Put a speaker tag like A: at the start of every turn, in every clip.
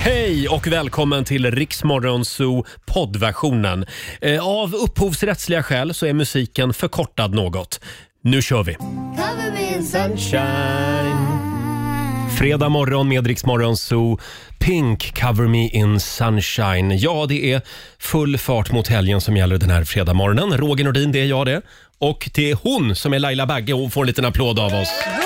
A: Hej och välkommen till Riksmorgon Zoo poddversionen. Eh, Av upphovsrättsliga skäl så är musiken förkortad något. Nu kör vi!
B: Cover me in sunshine.
A: Fredag morgon med Rix Morgon Zoo. Pink, Cover Me In Sunshine. Ja, det är full fart mot helgen som gäller den här fredag morgonen. Roger Nordin, det är jag det. Och det är hon som är Laila Bagge. Hon får en liten applåd av oss.
C: God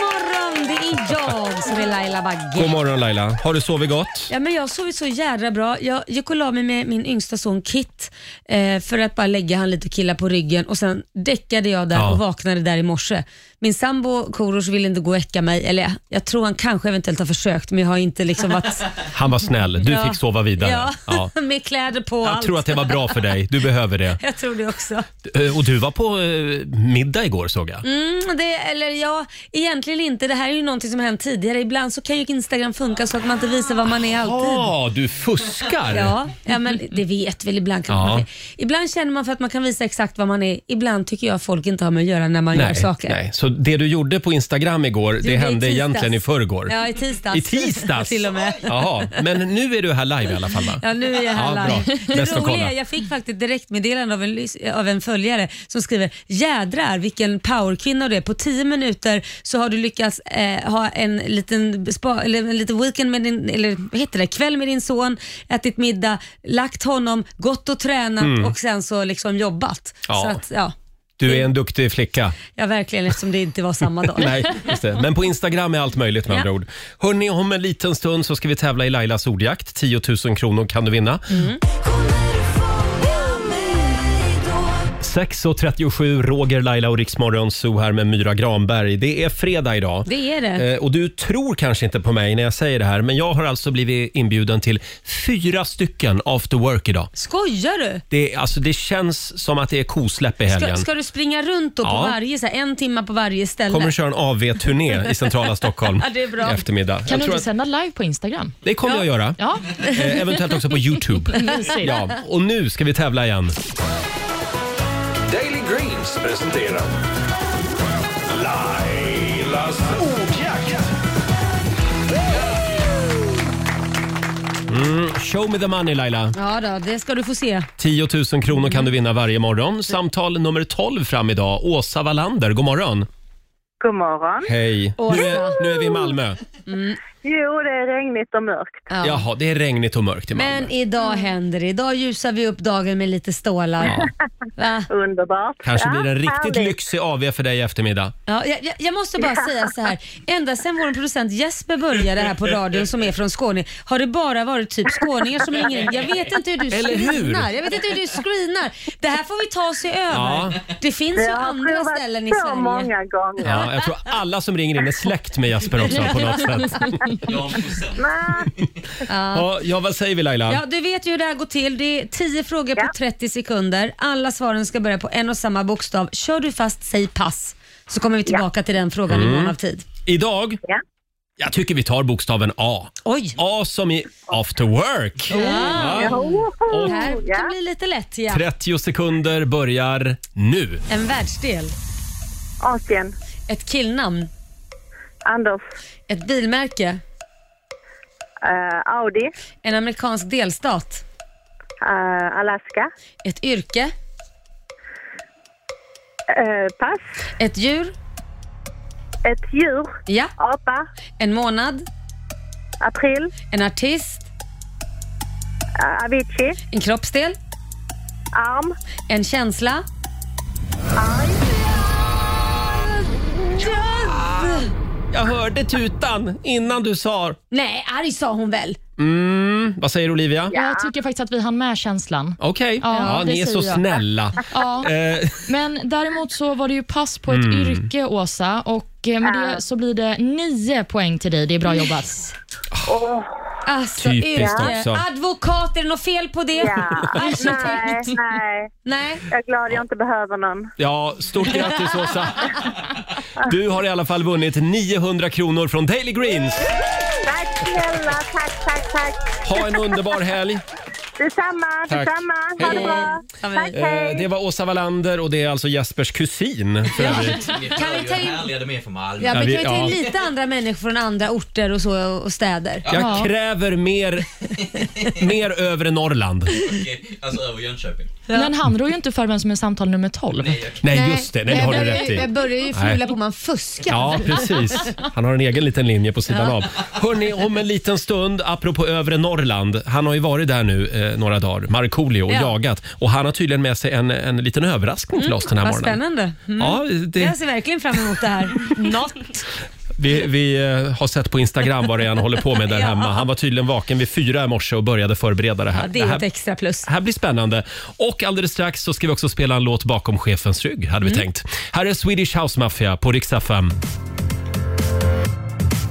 C: morgon, det är jag som är Laila Bagge.
A: God morgon Laila. Har du sovit gott?
C: Ja, men jag har sovit så jädra bra. Jag gick och la mig med min yngsta son Kit eh, för att bara lägga han lite och killa på ryggen och sen däckade jag där
A: Ja.
C: och vaknade där i morse. Min sambo Korosh ville inte gå och väcka mig, eller jag tror han kanske eventuellt har försökt men jag har inte liksom varit...
A: Han var snäll. Du
C: Ja.
A: fick sova vidare.
C: Ja,
A: Ja.
C: med kläder på och
A: Jag
C: allt.
A: tror att det var bra för dig. Du behöver det.
C: Jag tror det också.
A: Eh, Och du var på eh, middag igår såg jag.
C: Mm, det, eller ja, egentligen inte. Det här är ju någonting som har hänt tidigare. Ibland så kan ju Instagram funka så att man inte visar vad man är alltid.
A: Ja, du fuskar!
C: Ja, ja men det vet väl ibland kan
A: Ja.
C: man det. Ibland känner man för att man kan visa exakt vad man är. Ibland tycker jag folk inte har med att göra när man gör
A: Nej,
C: saker.
A: nej, så det du gjorde på Instagram igår, det,
C: i
A: hände
C: tisdags.
A: egentligen i förrgår.
C: Ja, i tisdags.
A: I tisdags?
C: Till och med.
A: Jaha, men nu är du här live i alla fall va?
C: Ja, nu är jag här
A: Ja, bra.
C: live. Det
A: Bäst att
C: roliga
A: kolla.
C: är, jag fick faktiskt direktmeddelande av en, lys- av en följare som skriver “Jädrar vilken powerkvinna du är. På 10 minuter så har du lyckats eh, ha en liten, spa, eller en liten weekend med din, eller vad heter det, kväll med din son, ätit middag, lagt honom, gått och tränat och sen så liksom jobbat.
A: Mm. Ja.
C: Så att, ja.
A: Du är en duktig flicka.
C: Ja, verkligen eftersom det inte var samma dag.
A: Nej, just det. Men på Instagram är allt möjligt med andra
C: Ja.
A: ord. Hörni, om en liten stund så ska vi tävla i Lailas ordjakt. 10 000 kronor kan du vinna.
C: Mm.
B: Kommer du fånga mig då?
A: 6.37, Roger, Laila och Riksmorgon Zoo här med Myra Granberg. Det är fredag idag.
C: Det är det.
A: Eh, Och du tror kanske inte på mig när jag säger det här, men jag har alltså blivit inbjuden till fyra stycken after work idag.
C: Skojar du?
A: Det, är- alltså, det känns som att det är kosläpp i
C: Ska,
A: helgen.
C: ska du springa runt då på
A: Ja.
C: varje, så här, en timme på varje ställe?
A: kommer att köra en AV-turné i centrala Stockholm
C: Ja, det är bra.
A: i eftermiddag.
D: Kan
A: jag
D: du
A: tror
D: inte
A: att
D: sända live på Instagram?
A: det kommer jag göra.
D: Ja,
A: Eh, eventuellt också på Youtube.
D: mysigt.
A: Ja, och nu ska vi tävla igen.
E: Daily Greens presenterar Lailas ordjakt.
A: Mm. Show me the money Laila.
C: Ja då, det ska du få se.
A: 10 000 kronor kan du vinna varje morgon. Samtal nummer 12 fram idag. Åsa Wallander, god morgon.
F: God morgon.
A: Hej. Nu är, nu är vi i Malmö.
F: Jo, det är regnigt och mörkt.
C: Mm.
F: Mm.
C: Ja.
A: Jaha, det är regnigt och mörkt i Malmö.
C: Men idag händer det. Idag ljusar vi upp dagen med lite stålar. Ja. Va?
F: Underbart.
A: Kanske
F: Ja,
A: blir det en riktigt
F: härligt.
A: lyxig AV för dig i eftermiddag.
C: Ja, jag, jag- jag måste bara säga så här. Ända sedan vår producent Jesper började här på radion som är från Skåne har det bara varit typ skåningar som ringer in. Jag vet inte hur du
A: Eller hur?
C: screenar. Jag vet inte hur du screenar. Det här får vi ta sig
A: Ja.
C: över. Det finns ju
F: Jag har
C: andra
F: provat
C: ställen i
F: så
C: Sverige.
F: många gånger.
A: Ja, jag tror alla som ringer in är släkt med Jesper också på något sätt.
F: Nej,
A: Ja, ja vad säger vi Laila?
C: Ja, du vet ju hur det här går till. Det är 10 frågor på
F: Ja.
C: 30 sekunder. Alla svaren ska börja på en och samma bokstav. Kör du fast, säg pass. Så kommer vi tillbaka till den frågan
A: Mm.
C: i mån av tid.
A: Idag?
F: Ja.
A: Jag tycker vi tar bokstaven A.
C: Oj!
A: A som i after work. Ja.
F: oho,
C: Det här kan
F: ja.
C: bli lite lätt ja.
A: 30 sekunder börjar nu.
C: En världsdel,
F: Asien.
C: ett killnamn,
F: Anders.
C: ett bilmärke,
F: eh, Audi.
C: en amerikansk delstat,
F: eh, Alaska.
C: ett yrke,
F: eh, pass.
C: ett djur,
F: Ett djur.
C: ja,
F: Apa.
C: en månad,
F: April.
C: en artist,
F: eh, Avicii.
C: en kroppsdel,
F: Arm.
C: en känsla.
A: Jag hörde tutan innan du sa...
C: Nej, arg sa hon väl?
A: Mm, vad säger Olivia?
D: Jag tycker faktiskt att vi hann med känslan.
A: Okej,
D: Ja,
A: ja,
D: det
A: ni är så
D: säger jag.
A: snälla.
D: Ja.
A: Eh,
D: Men däremot så var det ju pass på ett
A: Mm.
D: yrke, Åsa, och eh, med det så blir det nio poäng till dig. Det är bra jobbat.
C: Alltså,
A: Typiskt
C: yrke.
A: också.
C: Advokat, är det något fel på det?
F: Ja. Nej,
C: Arkitekt?
F: nej.
C: Nej.
F: Jag är glad jag inte behöver någon.
A: ja, stort grattis Åsa. Du har i alla fall vunnit 900 kronor från Daily Greens.
F: Tack snälla. Tack, tack, tack.
A: Ha en underbar helg.
F: Detsamma,
A: Tack.
F: detsamma. Ha det
A: Hej.
F: bra.
C: Ja, men-
F: Tack,
A: Eh,
F: hej.
A: det var Åsa Wallander och det är alltså Jespers kusin för övrigt.
C: Kan vi ta in-
G: härleder mig från Malmö.
C: Ja, men
A: Ja, vi-
C: kan vi ta in
A: ja.
C: lite andra människor från andra orter och så och städer?
A: Jag
D: Ja.
A: kräver mer, mer övre Norrland.
G: Okej, Alltså över Jönköping.
D: Men han rår ju inte för vem som är samtal nummer 12.
G: Nej, jag-
A: Nej, just det. Nej, det har du
C: jag
A: rätt
C: börjar, jag
A: i.
C: börjar ju
A: Nej.
C: fula på man fuskar.
A: Ja, precis. Han har en egen liten linje på sidan av. Hörni, om en liten stund, apropå övre Norrland. Han har ju varit där nu eh, några dagar, Markoolio, och
C: Ja.
A: jagat. Och han har tydligen med sig en, en liten överraskning till oss den här
C: Vad
A: morgonen.
C: spännande. Mm.
A: Ja, det,
C: Jag ser verkligen fram emot det här. Not.
A: vi, vi eh, har sett på Instagram vad det är han håller på med där
C: Ja.
A: hemma. Han var tydligen vaken vid fyra i morse och började förbereda det här.
C: Ja, det är ett
A: här,
C: extra plus.
A: här blir spännande. Och alldeles strax så ska vi också spela en låt bakom chefens rygg, hade vi
C: Mm.
A: tänkt. Här är Swedish House Mafia på Rix FM.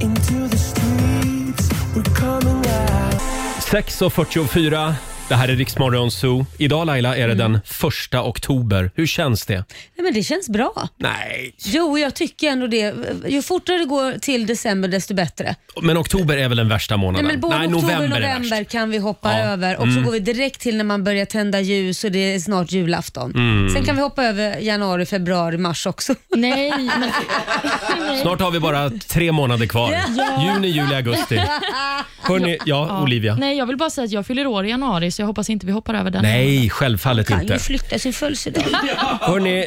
H: Into the streets, we're coming out.
A: 6.44, det här är Riksmorgon Zoo. Idag Laila är det
C: Mm.
A: den första oktober. Hur känns det?
C: Nej, men det känns bra.
A: Nej.
C: Jo, jag tycker ändå det. Ju fortare det går till december desto bättre.
A: Men oktober är väl den värsta
C: Nej,
A: månaden?
C: men både oktober och
A: november är värst.
C: november kan vi hoppa
A: Ja. Mm.
C: över och så går vi direkt till när man börjar tända ljus och det är snart julafton.
A: Mm.
C: Sen kan vi hoppa över januari, februari, mars också.
D: Nej, men
A: Snart har vi bara tre månader kvar. Juni, juli, augusti. Hörrni, ja, Olivia.
D: Nej, jag vill bara säga att jag fyller år i januari så jag hoppas inte vi hoppar över den.
A: Nej, självfallet
C: Kan ju
A: inte.
C: flytta sin födelsedag.
A: Hörrni,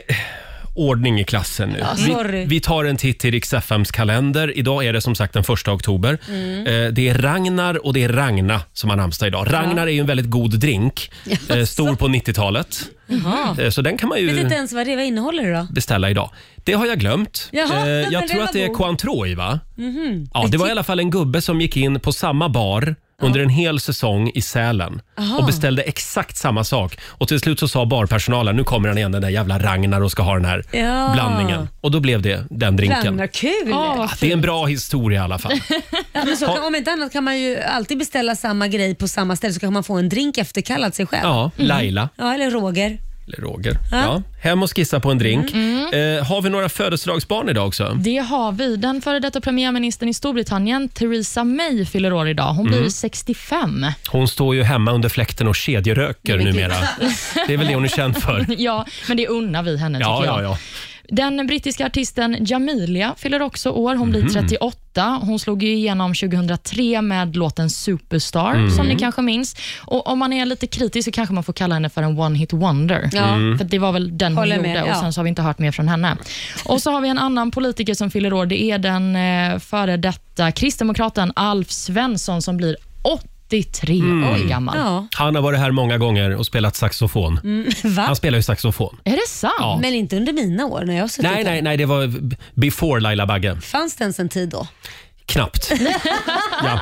A: ordning i klassen nu.
C: sorry.
A: vi, vi tar en titt i Rix FMs kalender. Idag är det som sagt den första oktober.
C: Mm.
A: Eh, Det är Ragnar och det är Ragna som har namnsdag idag. Ragnar är ju en väldigt god drink. eh, Stor på 90-talet. Eh, Så den kan man
C: Jag vet
A: ju
C: inte ens vad det vad innehåller det då?
A: beställa idag. Det har jag glömt.
C: Jaha,
A: Eh,
C: men
A: jag
C: den
A: tror att
C: var
A: det är
C: god.
A: Cointreau i va?
C: Mhm.
A: Ja, det var i alla fall en gubbe som gick in på samma bar under en hel säsong i Sälen och beställde exakt samma sak. Och till slut så sa barpersonalen, nu kommer han igen den där jävla Ragnar och ska ha den här
C: Ja.
A: blandningen. Och då blev det den drinken.
C: Ragnar, kul!
D: Ja, vad
A: Ah, Det är en bra historia i alla fall.
C: Ja, men så kan, om inte annat kan man ju alltid beställa samma grej på samma ställe så kan man få en drink efterkallad sig själv. Mm. Ja,
A: Ja,
D: Mm.
A: Laila,
C: eller Roger.
A: eller Roger. Ja, hem och skissa på en drink.
C: Mm.
D: Mm.
A: Eh, har vi några födelsedagsbarn idag också?
D: Det har vi. Den före detta premiärministern i Storbritannien, Theresa May, fyller år idag. Hon
A: Mm.
D: blir 65.
A: Hon står ju hemma under fläkten och kedjeröker
C: Men gud.
A: numera. Det är väl det hon är känd för.
D: Ja, men det unnar vi henne
A: Ja,
D: tycker jag.
A: ja, ja.
D: Den brittiska artisten Jamilia fyller också år. Hon
A: Mhm.
D: blir 38. Hon slog ju igenom 2003 med låten Superstar,
A: Mhm.
D: som ni kanske minns. Och Om man är lite kritisk så kanske man får kalla henne för en one-hit wonder.
C: Ja.
A: Mhm.
D: För det var väl den hon
C: Håller
D: gjorde
C: med, ja.
D: och sen så har vi inte hört mer från henne. Och så har vi en annan politiker som fyller år. Det är den eh, före detta kristdemokraten Alf Svensson som blir 83
A: Mm.
D: år gammal.
C: Ja. Mm,
A: Han har varit här många gånger och spelat saxofon.
C: Va?
A: Han spelar ju saxofon.
D: Är det sant?
A: Ja.
C: Men inte under mina år när jag har suttit
A: Nej,
C: här.
A: nej, nej, det var before Laila Bagge.
C: Fanns det ens en tid då?
A: Knappt. Ja.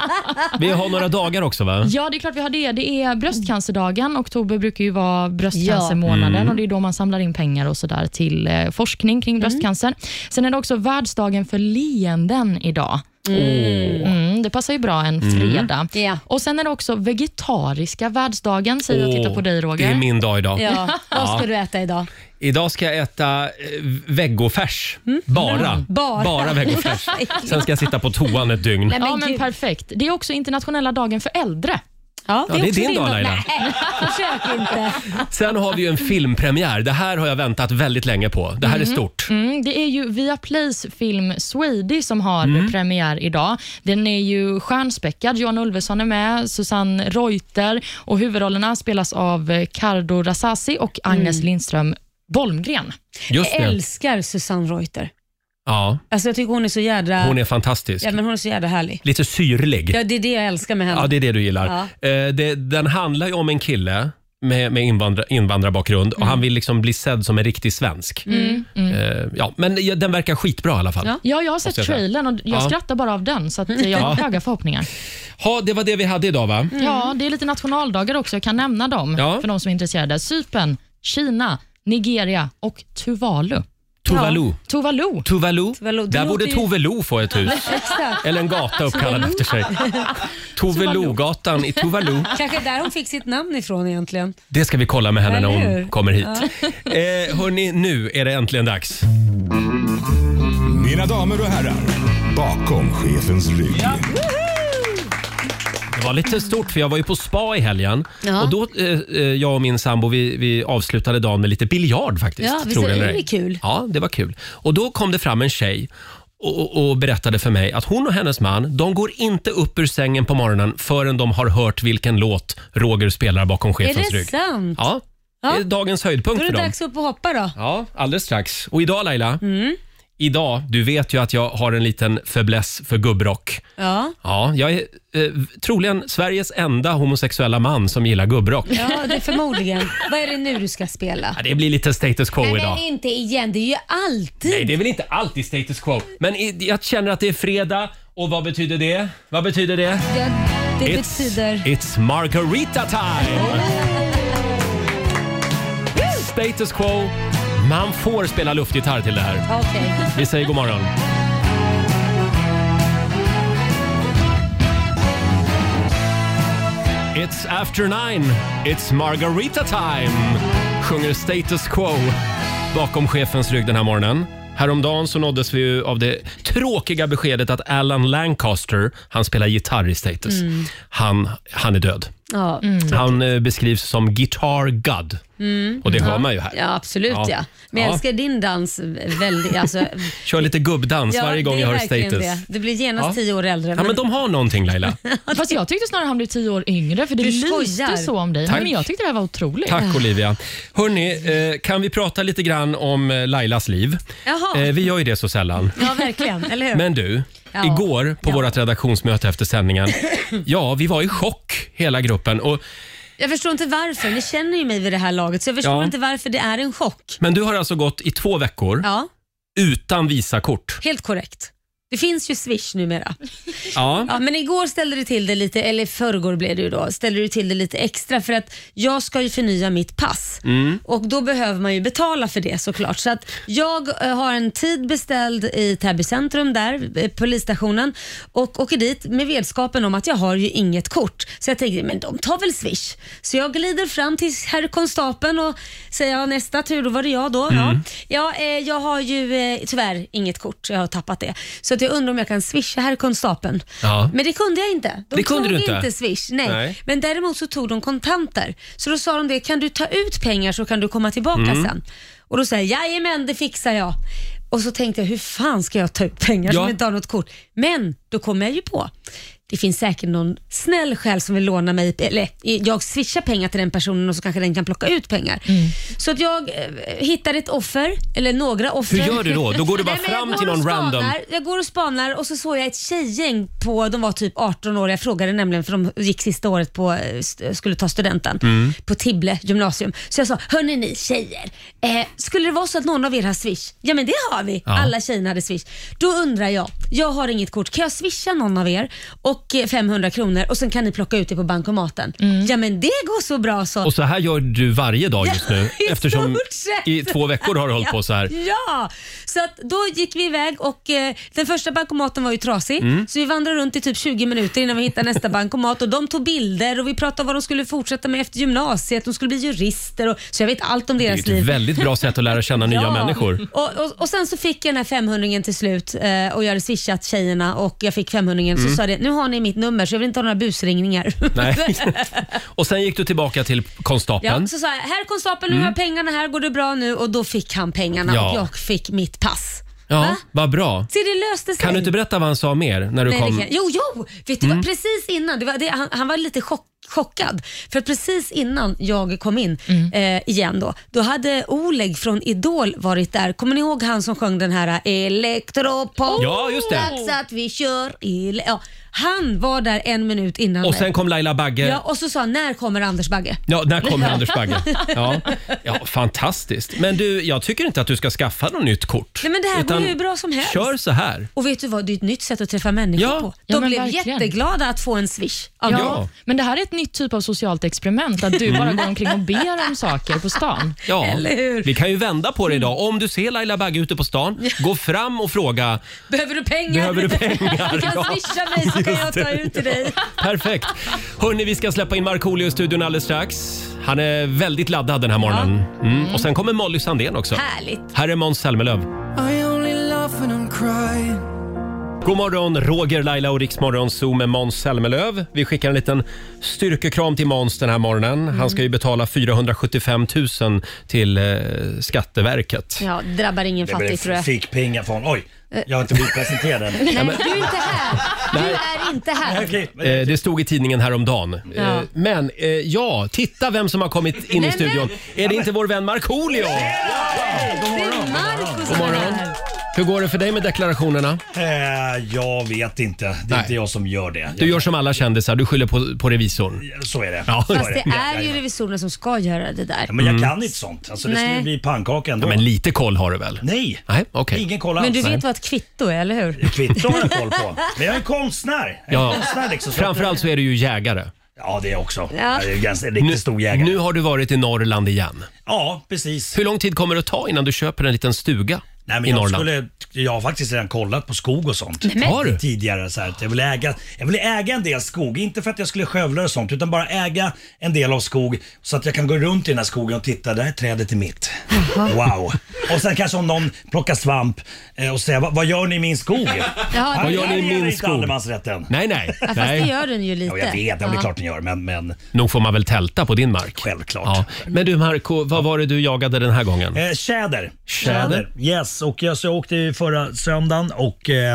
A: Vi har några dagar också, va?
D: Ja, det är klart vi har det. Det är bröstcancerdagen. Oktober brukar ju vara bröstcancermånaden och det är då man samlar in pengar och sådär till eh, forskning
A: Mm.
D: kring bröstcancer. Sen är det också världsdagen för leenden idag. Mm, det passar ju bra en fredag.
C: Ja.
D: Och Sen är det också vegetariska världsdagen, säger jag och tittar på dig
A: Det
D: Roger.
A: är min dag idag.
C: Ja. Vad ska du äta idag?
A: Idag ska jag äta eh, vegofärs. Bara.
C: Mm. Bara.
A: Bara vegofärs. Sen ska jag sitta på toan ett dygn.
C: Nej, men
D: Ja, men
C: gud.
D: perfekt. Det är också internationella dagen för äldre.
C: Ja,
A: Ja, det är
C: också
A: din dag, Laila.
C: Nej, försök inte.
A: Sen har vi ju en filmpremiär. Det här har jag väntat väldigt länge på. Det här är stort.
D: Mm, det är ju Viaplays film Swady som har
A: Mm.
D: premiär idag. Den är ju stjärnspäckad. Johan Ulveson är med, Susanne Reuter och huvudrollerna spelas av eh, Cardo Rassasi och Agnes Lindström Bolmgren.
A: Just
C: Mm. Jag
A: det.
C: älskar Susanne Reuter.
A: Ja,
C: Alltså, jag tycker hon är så jädra,
A: hon är fantastisk.
C: ja, men hon är så jädra härlig.
A: Lite syrlig.
C: Ja, det är det jag älskar med henne.
A: Ja, det är det du gillar. Eh, det, den handlar ju om en kille med, med invandra, invandrarbakgrund
D: Mm.
A: och han vill liksom bli sedd som en riktig svensk. Eh, ja, men ja, den verkar skitbra i alla fall. Ja.
C: Mm. Ja.
D: Ja, jag har
A: Måste jag
D: sett
A: säga.
D: trailern och jag
A: Ja.
D: skrattar bara av den, så att eh, jag har höga förhoppningar.
A: Ha, det var det vi hade idag va?
C: Mm.
D: Ja, det är lite nationaldagar också. Jag kan nämna dem
A: Ja.
D: för de som är intresserade. Cypern, Kina, Nigeria och Tuvalu.
A: Tuvalu.
D: Tuvalu.
A: Tuvalu.
C: Tuvalu. Det
A: Där
C: låter
A: borde
C: ju-
A: Tuvalu få ett hus.
C: Exakt.
A: Eller en gata uppkallad efter sig. Tuvelugatan i Tuvalu.
C: Kanske där hon fick sitt namn ifrån egentligen.
A: Det ska vi kolla med henne när
C: Eller hur?
A: hon kommer hit. Eh, hörni, nu är det äntligen dags.
E: Mina damer och herrar, bakom chefens rygg.
A: Det var lite stort för jag var ju på spa i helgen.
C: Ja.
A: Och då, eh, eh, jag och min sambo, vi, vi avslutade dagen med lite biljard faktiskt.
C: Ja, visst
A: tror
C: är
A: jag
C: det
A: ej.
C: kul?
A: Ja, det var kul. Och då kom det fram en tjej och, och berättade för mig att hon och hennes man, de går inte upp ur sängen på morgonen förrän de har hört vilken låt Roger spelar bakom
C: Är
A: chefens
C: det
A: rygg.
C: sant?
A: Ja, det är
C: Ja.
A: dagens höjdpunkt
C: Då är
A: för
C: det
A: dem.
C: dags Mm. upp och hoppa då.
A: Ja, alldeles strax. Och idag Laila, idag, du vet ju att jag har en liten fäbless för gubbrock.
C: Ja,
A: Ja, jag är eh, troligen Sveriges enda homosexuella man som gillar gubbrock.
C: ja det är förmodligen. Vad är det nu du ska spela?
A: Ja, det blir lite status quo
C: Nej,
A: idag.
C: men inte igen. Det är ju alltid.
A: Nej, det är väl inte alltid status quo. Men i, jag känner att det är fredag och vad betyder det? Vad betyder det?
C: Ja, det betyder...
A: it's margarita time! Status quo. Man får spela luftgitarr till det här.
C: Okej.
A: Vi säger god morgon. It's after nine, it's margarita time, sjunger Status Quo bakom chefens rygg den här morgonen. Häromdagen så nåddes vi ju av det tråkiga beskedet att Alan Lancaster, han spelar gitarr i Status, han, han är död.
C: Ja.
A: Han eh, beskrivs som Guitar God och det hör man ju här.
C: Mm. ja, absolut
A: Ja.
C: ja. Men jag
A: Ja.
C: älskar din dans väldigt. Alltså,
A: Kör lite gubbdans varje gång
C: det
A: jag
C: är
A: hör
C: verkligen
A: Status.
C: Det. Du blir genast
A: Ja.
C: tio år äldre.
A: Ja, men de har någonting Laila.
D: Fast jag tyckte snarare han blev tio år yngre, för det
C: Du skojar.
D: lyste så om dig.
A: Tack.
D: Men jag tyckte det här var otroligt.
A: Tack Olivia. Hörni, eh, kan vi prata lite grann om eh, Lailas liv?
C: Jaha.
A: Eh, vi gör ju det så sällan.
C: Ja, verkligen. Eller hur?
A: Men du,
C: Ja.
A: igår på
C: Ja.
A: vårt redaktionsmöte efter sändningen, ja, vi var i chock hela gruppen. Och,
C: Jag förstår inte varför. Ni känner ju mig vid det här laget, så jag förstår
A: Ja.
C: inte varför det är en chock.
A: men du har alltså gått i två veckor
C: Ja,
A: utan Visakort.
C: helt korrekt. Det finns ju Swish numera.
A: Ja.
C: Ja, men igår ställde du till det lite, eller i förrgår blev det ju då, ställde du till det lite extra för att jag ska ju förnya mitt pass
A: Mm.
C: och då behöver man ju betala för det såklart. Så att jag eh, har en tid beställd i Täby centrum där, eh, polisstationen och åker dit med vetskapen om att jag har ju inget kort. Så jag tänker, men de tar väl swish? Så jag glider fram till herr konstapeln och säger, ja, nästa tur, då var det jag då. Ja, ja eh, jag har ju eh, tyvärr inget kort, jag har tappat det. Så att jag undrar om jag kan swisha herr konstapeln.
A: Ja.
C: Men det kunde jag inte. De
A: Det kunde
C: tog
A: du inte.
C: inte Swish. Nej.
A: Nej.
C: Men däremot så tog de kontanter. Så då sa de det, kan du ta ut pengar så kan du komma tillbaka
A: Mm.
C: sen. Och då sa jag, jajamän det fixar jag. Och så tänkte jag, hur fan ska jag ta ut pengar
A: Ja.
C: som inte har något kort? Men då kom jag ju på, det finns säkert någon snäll själ som vill låna mig, eller jag swishar pengar till den personen och så kanske den kan plocka ut pengar. Så att jag eh, hittade ett offer, eller några offer.
A: Hur gör du då? Då går du bara
C: Nej, men jag
A: fram
C: går
A: till
C: och
A: någon
C: spanar.
A: random.
C: Jag går och spanar och så såg jag ett tjejgäng på, de var typ 18 år, jag frågade nämligen för de gick sista året på, eh, st- skulle ta studenten
A: Mm.
C: på Tibble gymnasium. Så jag sa, hörni ni tjejer, eh, skulle det vara så att någon av er har swish? Ja men det har vi,
A: Ja.
C: alla tjejerna hade swish. Då undrar jag, jag har inget kort, kan jag swisha någon av er och eh, 500 kronor och sen kan ni plocka ut det på bankomaten? Ja men det går så bra så.
A: Mm. Och så här gör du varje dag just nu
C: i
A: eftersom
C: stort sett.
A: i två veckor har du hållit på så här.
C: Ja, så att då gick vi iväg och eh, den första bankomaten var ju trasig
A: Mm.
C: så vi vandrade runt i typ 20 minuter innan vi hittade nästa bankomat och de tog bilder och vi pratade om vad de skulle fortsätta med efter gymnasiet, de skulle bli jurister och, så jag vet allt om
A: Det är
C: deras
A: ju ett
C: liv.
A: väldigt bra sätt att lära känna nya
C: Ja.
A: människor.
C: Och, och, och sen så fick jag den här 500 till slut eh, och jag hade swishat tjejerna och jag fick 500 så sa det nu har ni mitt nummer så jag vill inte ha några busringningar.
A: Mm. Nej. Och sen gick du tillbaka till konstapeln.
C: Ja, så sa jag, herr konstapeln nu har jag pengarna, här går det bra nu och då fick han pengarna
A: Mm. Ja.
C: och jag fick mitt pass.
A: Ja,
C: Va?
A: vad bra.
C: Så det löste sig.
A: Kan du inte berätta vad han sa mer när du
C: Nej,
A: kom? Mm.
C: det kan- Jo, jo! Vet du vad, precis innan, det var det, han, han var lite chock, chockad. För att precis innan jag kom in eh, igen då, då hade Oleg från Idol varit där. Kommer ni ihåg han som sjöng den här eh, Elektropop?
A: Ja, just det.
C: Dags att vi kör ele- ja, Han var där en minut innan
A: Och
C: mig.
A: sen kom Laila Bagge.
C: Ja,
A: Ja.
C: och så sa han, när kommer Anders Bagge?
A: när kommer Anders Bagge? Ja. ja, fantastiskt. Men du, jag tycker inte att du ska skaffa något nytt kort.
C: Nej, men det här går
A: Utan
C: ju hur bra som helst.
A: Kör så här.
C: Och vet du vad, det är ett nytt sätt att träffa människor
A: Ja.
C: på. De
D: Ja, men
C: blev
D: verkligen.
C: jätteglada att få en swish av
D: Ja.
C: mig.
A: Ja.
D: Men det här är ett nytt typ av socialt experiment, att du bara
I: Mm.
D: går omkring och ber om saker på stan.
A: Ja,
C: Eller hur? Mm.
A: vi kan ju vända på det idag. Om du ser Laila Bagge ute på stan, gå fram och fråga
C: Behöver du pengar?
A: Behöver du pengar?
C: Du kan
A: Ja.
C: swisha mig så kan jag ta ut till dig.
A: Perfekt. Hörni, vi ska släppa in Markoolio i studion alldeles strax. Han är väldigt laddad den här morgonen. Mm. Och sen kommer Molly Sandén också.
C: Härligt.
A: Här är Måns Zelmerlöw.
H: I only laugh when I'm crying.
A: God morgon, Roger, Laila och Riksmorgon Zoo med Måns Zelmerlöw. Vi skickar en liten styrkekram till Måns den här morgonen. Han
C: Mm.
A: ska ju betala 475 000 till eh, Skatteverket.
J: Ja, drabbar ingen fattig tror jag.
I: Fick pengar från... Oj,
C: Eh.
I: jag har inte blivit presenterad än.
J: Nej, men du är inte här. Du
A: Nej.
J: är inte här.
I: Okej, men-
A: Eh, det stod i tidningen häromdagen.
J: Ja.
A: Eh, men eh, ja, titta vem som har kommit in i
J: men-
A: studion. Är det inte vår vän Markoolio?
J: Det är Marcus som är
A: morgon.
J: här.
A: Hur går det för dig med deklarationerna?
I: Eh, jag vet inte. Det är
A: Nej.
I: inte jag som gör det.
A: Du gör som alla kändisar, du skyller på, på revisorn.
I: Så är det.
A: Ja.
I: Så
A: Fast
J: Fast det
I: Ja,
J: är ju
I: ja, ja.
J: revisorerna som ska göra det där.
I: Ja, Men
A: Mm.
I: jag kan inte sånt. Alltså, det
J: Nej.
I: skulle bli pannkaka ändå.
A: Ja, men lite koll har du väl?
I: Nej,
A: Nej, okej.
I: ingen koll alls.
J: Men du vet vad ett kvitto är, eller hur?
I: Kvitto har jag koll på. Men jag är konstnär. Jag är
A: Ja.
I: konstnär liksom. Så-
A: Framförallt så är du ju jägare.
I: Ja, det är jag också.
J: Ja.
I: Jag är ganska, en riktigt stor jägare.
A: nu har du varit i Norrland igen.
I: Ja, precis.
A: Hur lång tid kommer det att ta innan du köper en liten stuga
I: Nej, men
A: i
I: jag,
A: Norrland?
I: skulle, jag har faktiskt redan kollat på skog och sånt.
A: Har du?
I: tidigare. Så här, att jag, vill äga, jag vill äga en del skog, inte för att jag skulle skövla och sånt, utan bara äga en del av skog så att jag kan gå runt i den här skogen och titta, det här trädet är mitt. Wow! Och sen kanske om någon plockar svamp eh, och säger, "Vad- vad gör ni i min skog?
J: Ja,
I: Här
A: Vad gör ni i
I: gäller
A: min
I: inte
A: skog?
I: allemansrätten.
A: Nej, nej.
J: fast det
A: nej.
J: gör den ju
I: Ja,
J: lite.
I: jag vet, ja, det är klart ni gör, men, men
A: Nog får man väl tälta på din mark?
I: självklart.
A: Ja. Men du Marco, vad var det du jagade den här gången?
I: Eh, tjäder.
A: Tjäder.
I: Yes, och jag, så jag åkte ju förra söndagen och eh,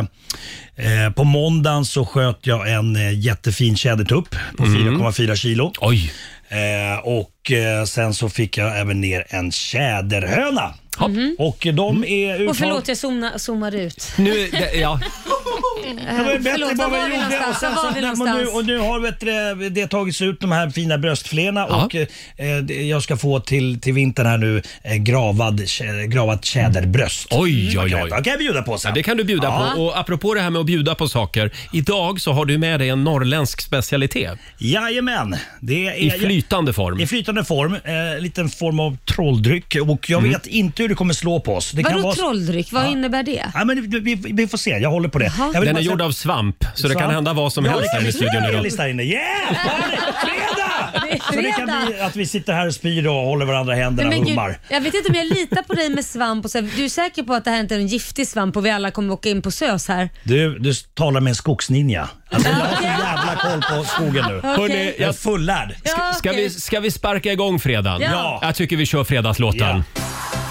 I: eh, på måndagen så sköt jag en eh, jättefin tjädertupp på 4,4 kilo.
A: Mm. Oj!
I: Eh, och eh, sen så fick jag även ner en tjäderhöna.
A: Mm.
I: Och de är
C: Och
I: uttagna...
C: förlåt, jag zoomna, zoomar ut.
A: Nu, ja,
J: Eh,
I: Det var ju bättre
C: Förlåt,
I: bara
C: var
I: vad jag
C: vi
I: gjorde.
C: någonstans?
I: Och
C: Var
I: sen så-
C: var vi
I: och nu,
C: någonstans?
I: och nu har vet du, det tagits ut de här fina bröstflena
A: Ja.
I: och eh, det- jag ska få till, till vintern här nu eh, gravad, tjä- gravat tjäderbröst.
A: Oj, oj,
I: Kan
A: oj.
I: jag- kan jag bjuda på sen.
A: det kan du bjuda
I: ja.
A: på. Och apropå det här med att bjuda på saker. Idag så har du med dig en norrländsk specialitet
I: Jajamän. Det är,
A: i flytande
I: I
A: form.
I: flytande form. Eh, liten form av trolldryck och
A: Mm.
I: jag vet inte hur det kommer slå på oss. Det kan
C: Vadå
I: vara...
C: trolldryck? Vad innebär det?
I: Ja, men vi, vi, vi får se, jag håller på det. Jag vill
A: Den
I: bara
A: är
I: säga-
A: gjord av svamp, så det kan
I: Svamp.
A: hända vad som
I: Ja,
A: helst
I: det kan
A: här i
I: bli
A: studion idag.
I: surrealistiskt här inne. Yeah! Fredag!
C: Det är
I: Så det
C: fredag.
I: kan bli att vi sitter här och spyr och håller varandra i händerna och
C: Men gud,
I: hummar.
C: jag vet inte om jag litar på dig med svamp. Och så här, du är säker på att det här inte är en giftig svamp och vi alla kommer åka in på SÖS här?
I: Du, du talar med en skogsninja. Alltså, jag har så jävla koll på skogen nu.
A: Hörrni,
I: Jag är
A: jag,
I: fullärd.
C: Ja,
A: ska,
C: okej.
A: vi, ska vi sparka igång fredagen?
I: Ja.
A: Jag tycker vi kör fredagslåten.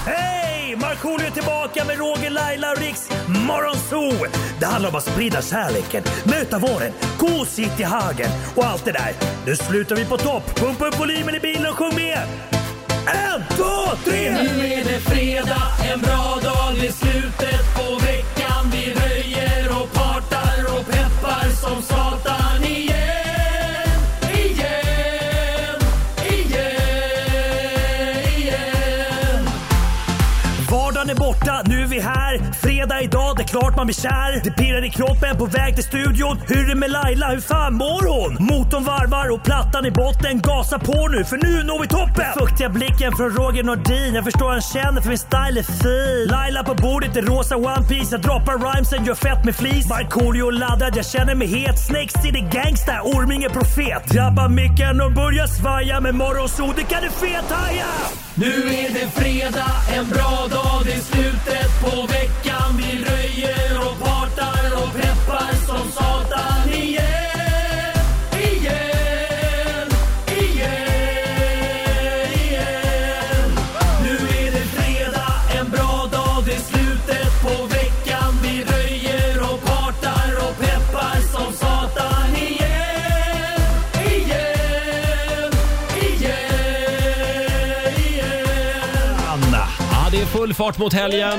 I: Hej! Markoolio är tillbaka med Roger, Laila och Riks Morgonzoo! Det handlar om att sprida kärleken, möta våren, gosigt i hagen och allt det där. Nu slutar vi på topp! Pumpa upp volymen i bilen och sjung med! En, två, tre! Nu är det fredag, en bra dag, det är slutet på veckan. Vi röjer och partar och peppar som satan igen, igen, igen, igen. Vardagen är borta, nu är vi här. Fredag idag, det är klart man blir kär. Det pirrar i kroppen på väg till studion. Hur är det med Laila, hur fan mår hon? Motorn varvar och plattan i botten. Gasa på nu, för nu når vi toppen! Den fuktiga blicken från Roger Nordin. Jag förstår han känner för min style är fin. Laila på bordet i rosa One Piece Jag droppar rhymesen, gör fett med flis. Markoolio laddad, jag känner mig het. Snakes city gangsta, Orminge profet. Drabbar micken och börjar svaja. Med morgonsol, det kan du fethaja! Nu är det fredag, en bra dag, det är slutet på veckan. Vi röjer och partar och peppar som satan igen, igen, igen, igen. Nu är det fredag, en bra dag, det är slutet på veckan. Vi röjer och partar och peppar som satan igen, igen, igen, igen. Anna.
A: Ja, det är full fart mot helgen.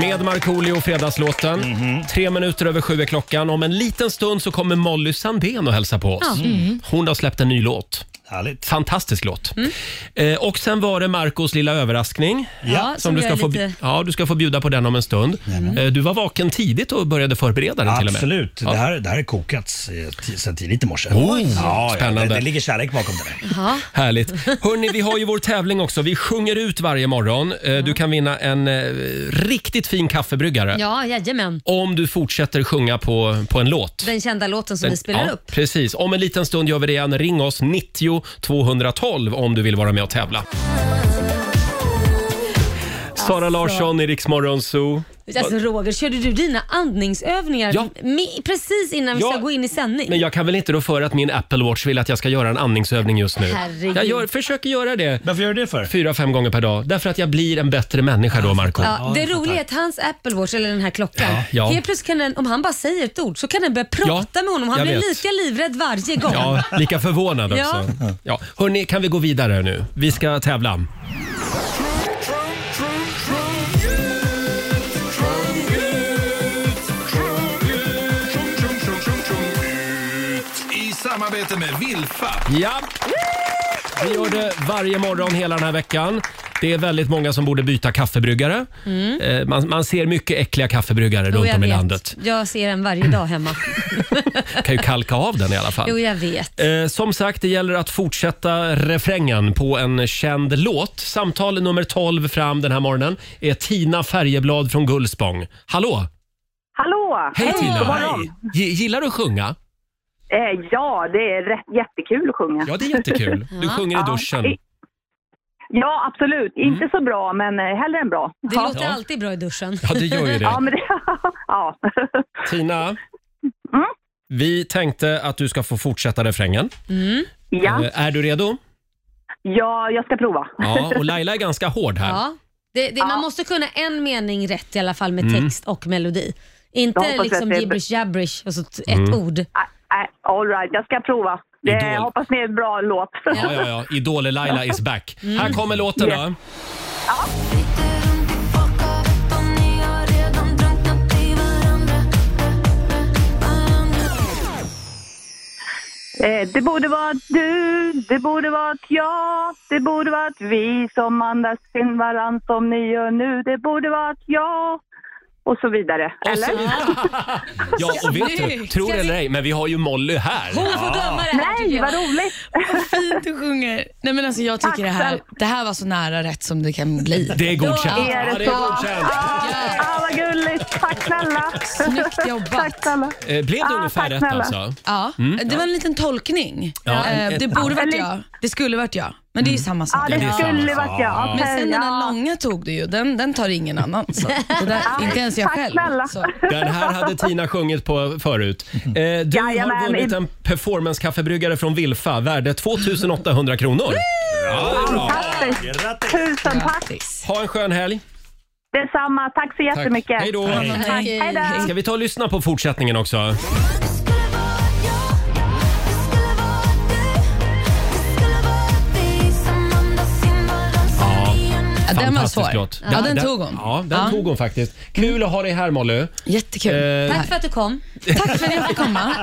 A: Med Markoolio och Fredagslåten.
I: Mhm.
A: Tre minuter över sju är klockan. Om en liten stund så kommer Molly Sandén och hälsa på oss.
C: Mm.
A: Hon har släppt en ny låt.
I: Härligt.
A: Fantastisk låt.
C: Mm.
A: Eh, och sen var det Marcos lilla överraskning.
C: Ja, som
A: du,
C: jag
A: ska
C: är
A: få,
C: lite-
A: ja, du ska få bjuda på den om en stund. Eh, du var vaken tidigt och började förbereda den till och med.
I: Absolut. Det, här, det här är kokats eh, ti- sen tidigt i morse. Oj, ja, ja, det,
A: spännande.
I: det ligger kärlek bakom det där.
A: Härligt. Hörni, vi har ju vår tävling också. Vi sjunger ut varje morgon. Eh, Du kan vinna en eh, riktigt fin kaffebryggare.
C: Ja, jajamän.
A: Om du fortsätter sjunga på, på en låt.
C: Den kända låten som vi spelar
A: Ja,
C: upp.
A: Precis. Om en liten stund gör vi det igen. Ring oss 90 212 om du vill vara med och tävla. Sara Larsson i Riksmorgon Zoo.
C: Alltså Roger, körde du dina andningsövningar
A: Ja.
C: mi- precis innan vi
A: Ja.
C: ska gå in i sändning?
A: Men jag kan väl inte då för att min Apple Watch vill att jag ska göra en andningsövning just nu.
C: Herregud.
A: Jag gör, försöker göra det.
I: Varför gör du det för?
A: Fyra, fem gånger per dag. Därför att jag blir en bättre människa då, Marco.
C: Ja, det roliga är att hans Apple Watch, eller den här klockan,
A: Ja, ja.
C: helt plötsligt kan den, om han bara säger ett ord så kan den börja prata
A: Ja,
C: med honom. Han
A: jag
C: blir
A: vet.
C: lika livrädd varje gång.
A: Ja, lika förvånad
C: Ja.
A: också. Ja. Hörni, kan vi gå vidare nu? Vi ska tävla.
K: I samarbete med Vilfa.
A: Ja. Vi gör det varje morgon hela den här veckan. Det är väldigt många som borde byta kaffebryggare.
C: Mm.
A: Eh, Man, man ser mycket äckliga kaffebryggare
C: Jo,
A: runt
C: jag
A: om i
C: vet.
A: landet.
C: Jag ser den varje dag hemma.
A: kan ju kalka av den i alla fall.
C: Jo, jag vet.
A: Eh, Som sagt, det gäller att fortsätta refrängen på en känd låt. Samtal nummer 12 fram den här morgonen är Tina Färjeblad från Gullspång. Hallå!
F: Hallå!
A: Hej
F: God
A: Tina!
F: morgon.
A: G- Gillar du att sjunga?
F: Eh, ja, det är rätt, jättekul att sjunga.
A: Ja, det är jättekul. Du sjunger i duschen. Mm.
F: i- Ja, absolut. Inte så bra, men eh, hellre än bra.
C: Det
F: ja.
C: låter alltid bra i duschen.
A: Ja, det gör ju det.
F: Ja, men det, ja.
A: Tina,
F: Mm.
A: vi tänkte att du ska få fortsätta refrängen.
F: Mm. Ja.
A: Eh, Är du redo?
F: ja, jag ska prova.
A: Ja, och Laila är ganska hård här.
C: Ja. Det, det, Man måste kunna en mening rätt i alla fall med
A: Mm.
C: text och melodi.
F: Jag
C: Inte
F: hoppas
C: liksom
F: att det-
C: gibberish jabberish och så t- ett
A: Mm.
C: ord.
F: Nej, All right, jag ska prova. Det,
A: Idol.
F: jag hoppas ni är en bra låt.
A: Ja, ja, ja. Idol-Laila is back. Här kommer låten då.
F: Eh, Det borde vara du, det borde vara ett jag, det borde vara ett vi som andas in varann som ni gör nu. Det borde vara ett jag och så vidare. Eller?
A: Ja, och vet du, tror eller ej, men vi har ju Molly här.
C: Hon får döma det här tycker
F: Nej,
C: jag.
F: vad roligt!
J: Fint du sjunger. Nej, men alltså, jag
F: Tack
J: tycker det här,
F: själv.
J: det här var så nära rätt som det kan bli.
A: Det är godkänt.
F: Då är
A: Ja, det
F: det så.
A: är godkänt.
F: Ah, ah, vad gulligt! Tack snälla!
J: Snyggt
F: Tack
J: jobbat.
F: snälla!
A: Eh, Blev det
F: Ah,
A: ungefär
F: tack
A: rätt
F: snälla.
A: alltså?
J: Ja, det var en liten tolkning.
A: Ja,
J: Eh,
A: en-
J: det
A: ett-
J: borde varit
F: Eller-
J: jag, det skulle varit jag. Men det är ju samma
F: Ja,
J: sak.
F: det
A: det är
F: skulle
A: samma
F: varit jag.
A: sak.
J: Men
F: Okej,
J: sen den
F: ja.
J: där långa tog du ju, den, den tar ingen annan. Så. Det där, inte ens jag
F: tack
J: själv.
F: snälla.
J: Så.
A: Den här hade Tina sjungit på förut. Eh, Du har
F: Jajamän,
A: vunnit
F: i-
A: en performance-kaffebryggare från Wilfa värde 2800 kronor.
F: Fantastiskt!
I: Grattis!
F: Tusen tack!
J: Grattis.
A: Ha en skön helg.
F: Detsamma, tack så
A: Tack.
F: jättemycket!
A: Hej då.
F: Tack, hej då!
A: Ska vi ta och lyssna på fortsättningen också?
J: Ja, den var
A: Fantastisk
J: svår.
A: låt.
J: Ja, den tog hon.
A: Ja, den
J: Ja.
A: tog hon faktiskt. Kul att ha dig här Molly.
J: Jättekul.
A: Eh,
C: Tack för att du kom.
J: Tack för att jag fick komma.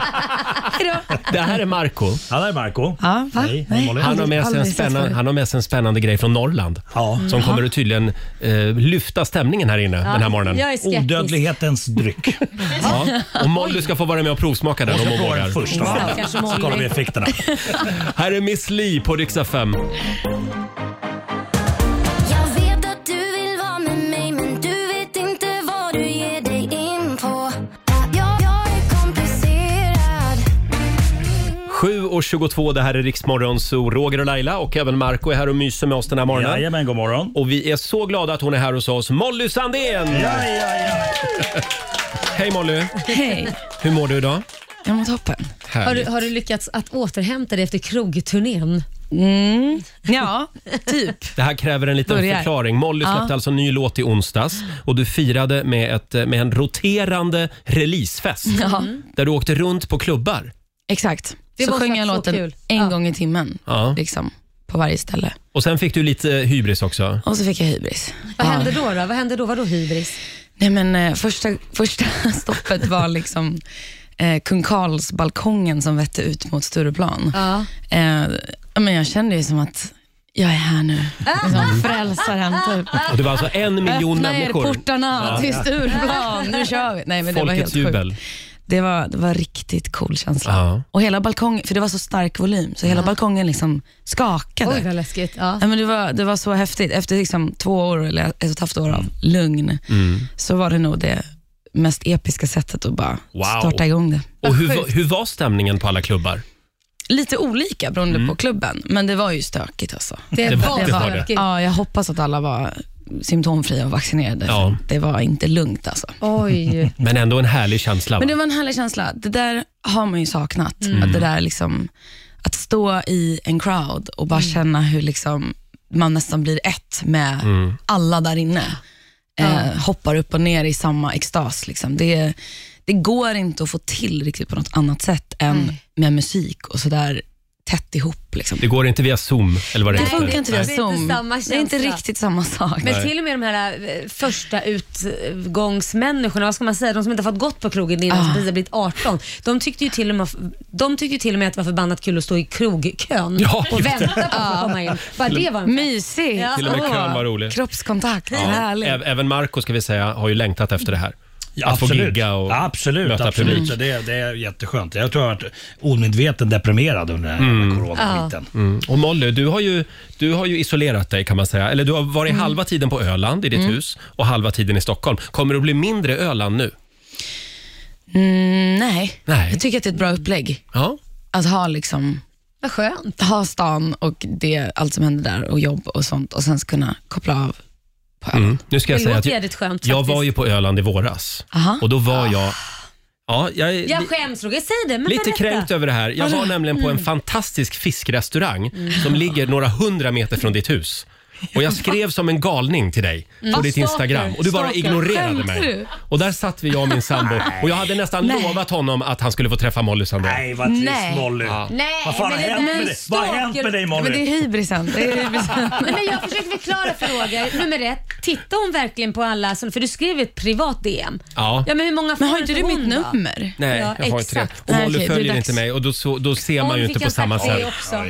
A: det här är Marco.
I: Han är Marco.
J: Ja, va?
I: Hej, hej, Molly.
A: Han har, med sig en
J: Aldrig sett
A: spännande,
J: förut.
A: han har med sig en spännande grej från Norrland.
I: Ja.
A: Som kommer att tydligen eh, lyfta stämningen här inne den här morgonen.
C: Jag är skeptisk.
I: Odödlighetens dryck.
A: Ja. Och Molly ska få vara med och provsmaka den om hon
I: På
A: vågar.
I: den första.
C: Wow,
I: Så
C: kanske Molly.
I: kollar vi effekterna.
A: Här är Miss Li på Riksa 5.
B: Jag vet att du vill vara med mig men du vet inte vad du ger dig in på Jag, jag är komplicerad
A: 7.22, det här är Riksmorgon, så Roger och Laila och även Marco är här och myser med oss den här morgonen.
I: Jajamän, god morgon.
A: Och vi är så glada att hon är här hos oss, Molly Sandén!
I: Ja, ja, ja.
A: Hej Molly!
J: Hej,
A: Hur mår du idag?
J: jag mår toppen.
C: Har
A: Härligt.
C: du, har du lyckats att återhämta dig efter krogturnén?
J: Mm. Ja, typ.
A: Det här kräver en liten
J: Börjar.
A: förklaring. Molly släppte alltså en ny låt i onsdags och du firade med, ett, eh, med en roterande releasefest
J: Ja,
A: där du åkte runt på klubbar.
J: Exakt.
C: Det
J: så
C: måste
J: sjöng jag
C: varit så
J: låten
C: kul.
J: en
C: Ja.
J: gång i timmen,
A: Ja.
J: liksom, på varje ställe.
A: Och sen fick du lite eh, hybris också.
J: Och så fick jag hybris.
C: Vad
J: Ja.
C: hände då? då? Vad hände då? Vadå hybris?
J: Nej, men, eh, första, första stoppet var liksom eh, Kung Karls balkongen som vette ut mot Stureplan.
C: Ja.
J: Eh, men jag kände ju som att jag är här nu. Liksom, frälsaren, typ.
A: Och det var alltså en miljon
J: Öppna er
A: människor.
J: portarna till Stureplan, nu kör vi. Nej, men det var
A: Folkets
J: helt sjukt.
A: jubel.
J: Det var, det var riktigt cool känsla.
A: Ja.
J: Och hela balkongen, för det var så stark volym, så hela balkongen liksom skakade.
C: Oj, vad läskigt. Ja.
J: Ja, men det, var, det var så häftigt. Efter liksom två år, eller ett och ett halvt år av lugn,
A: Mm.
J: så var det nog det mest episka sättet att bara
A: Wow.
J: starta igång det.
A: Och hur, va- hur var stämningen på alla klubbar?
J: Lite olika beroende på klubben, men det var ju stökigt alltså.
C: Det,
A: var-
C: var
A: det var det.
C: stökigt.
J: Ja, jag hoppas att alla var symptomfria och vaccinerade.
A: Ja.
J: Det var inte lugnt alltså.
C: Oj.
A: Men ändå en härlig känsla. Va?
J: Men det var en härlig känsla. Det där har man ju saknat.
A: Mm.
J: Att, det där liksom, att stå i en crowd och bara känna hur liksom, man nästan blir ett med
B: Mm.
J: alla där inne. Eh, hoppar upp och ner i samma extas. Liksom. Det, det går inte att få till riktigt på något annat sätt än med musik och sådär tätt ihop. Liksom.
A: Det går inte via Zoom eller vad det
J: Det
A: heter.
J: funkar inte via
A: Nej.
J: Zoom.
C: inte samma
J: det är inte
C: känsla.
J: riktigt samma sak.
C: Men till och med de här eh, första utgångsmänniskorna, vad ska man säga, de som inte har fått gått på krogen innan, som precis har blivit 18. De tyckte, ju till och med, de tyckte ju till och med att det var förbannat kul att stå i krogkön
A: Ja,
C: och
A: just det.
C: vänta på att få komma in. Bara det var en
J: Mysigt.
A: Till och med kön var rolig.
J: Kroppskontakt,
A: Ja.
J: härligt.
A: Ä- Även Marco ska vi säga har ju längtat efter det här. Att få
I: absolut.
A: gigga och
I: absolut,
A: möta
I: absolut.
A: publik.
I: Det, det är jätteskönt. Jag tror jag har varit omedveten deprimerad under den här
A: Mm.
I: coronaskiten.
A: Mm. Och Molly, du har, ju, du har ju isolerat dig kan man säga. Eller du har varit halva tiden på Öland i ditt
J: Mm.
A: hus och halva tiden i Stockholm. Kommer det att bli mindre Öland nu?
J: Mm, nej.
A: Nej.
J: jag tycker att det är ett bra upplägg.
A: Ja.
J: Att ha liksom
C: Vad skönt.
J: ha stan och det, allt som händer där och jobb och sånt och sen kunna koppla av.
A: Mm. Nu ska jag
J: Det
A: säga att
J: låter
A: jag,
J: jävligt skönt,
A: jag
J: faktiskt.
A: var ju på Öland i våras och då var jag... Ja, jag är
C: Ah. Jag
A: li-
C: skäms Roger, säg det. Men
A: lite
C: berätta.
A: kränkt över det här. Jag var nämligen på en fantastisk fiskrestaurang
C: Ah. Mm.
A: som ligger några hundra meter från ditt hus. Och jag skrev som en galning till dig
C: Mm.
A: på ditt
C: Stalker,
A: Instagram och du bara
C: stalker.
A: ignorerade
C: Skämtar
A: mig.
C: du?
A: Och där satt vi jag och min sambo och jag hade nästan
C: Nej.
A: lovat honom att han skulle få träffa Molly Sandén. Nej,
I: vad trist, Nej. Molly.
C: Nej,
I: Vad fan
C: men
I: har
C: det
I: hänt
C: där
I: med
C: är
I: dig? Vad har hänt med dig, Molly? Men det
J: är hybrisen. Det är hybrisen.
C: Nej, men jag försöker förklara för Roger, nummer ett, tittar hon verkligen på alla, som- för du skrev ett privat DM.
A: Ja.
C: Ja, men hur många men har inte du mitt
J: nummer?
A: Nej,
C: ja,
A: jag har inte det.
C: exakt.
A: Och Molly
J: Okej, det är
A: följer
J: dags.
A: inte mig och då, så, då ser man
C: Hon
A: ju inte
C: fick
A: på
C: en
A: samma
C: tack för
A: sätt.
C: det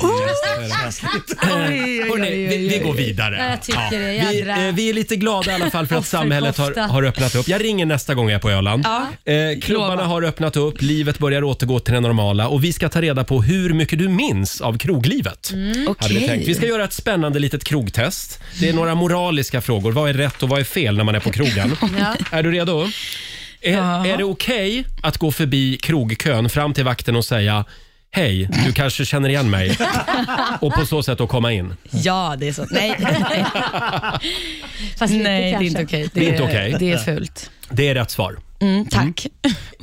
C: också.
A: Hörrni, vi, vi går vidare.
C: Ja, jag tycker det, jädra.
A: vi, eh, vi är lite glada i alla fall för att samhället har,
C: Offerkofta.
A: har öppnat upp. Jag ringer nästa gång jag är på Öland.
C: Ja.
A: Eh, klubbarna
C: Lova.
A: har öppnat upp, livet börjar återgå till det normala och vi ska ta reda på hur mycket du minns av kroglivet.
J: Mm.
A: hade vi
J: Okej.
A: tänkt. Vi ska göra ett spännande litet krogtest. Det är några moraliska frågor. Vad är rätt och vad är fel när man är på krogen?
J: Ja.
A: Är du redo? Är, är det okej att gå förbi krogkön fram till vakten och säga Hej, du kanske känner igen mig och på så sätt då komma in?
J: Ja, det är så. Nej, Nej det är inte okej.
A: Det är inte okej.
J: Det är fult.
A: Det är rätt svar.
J: Mm, tack.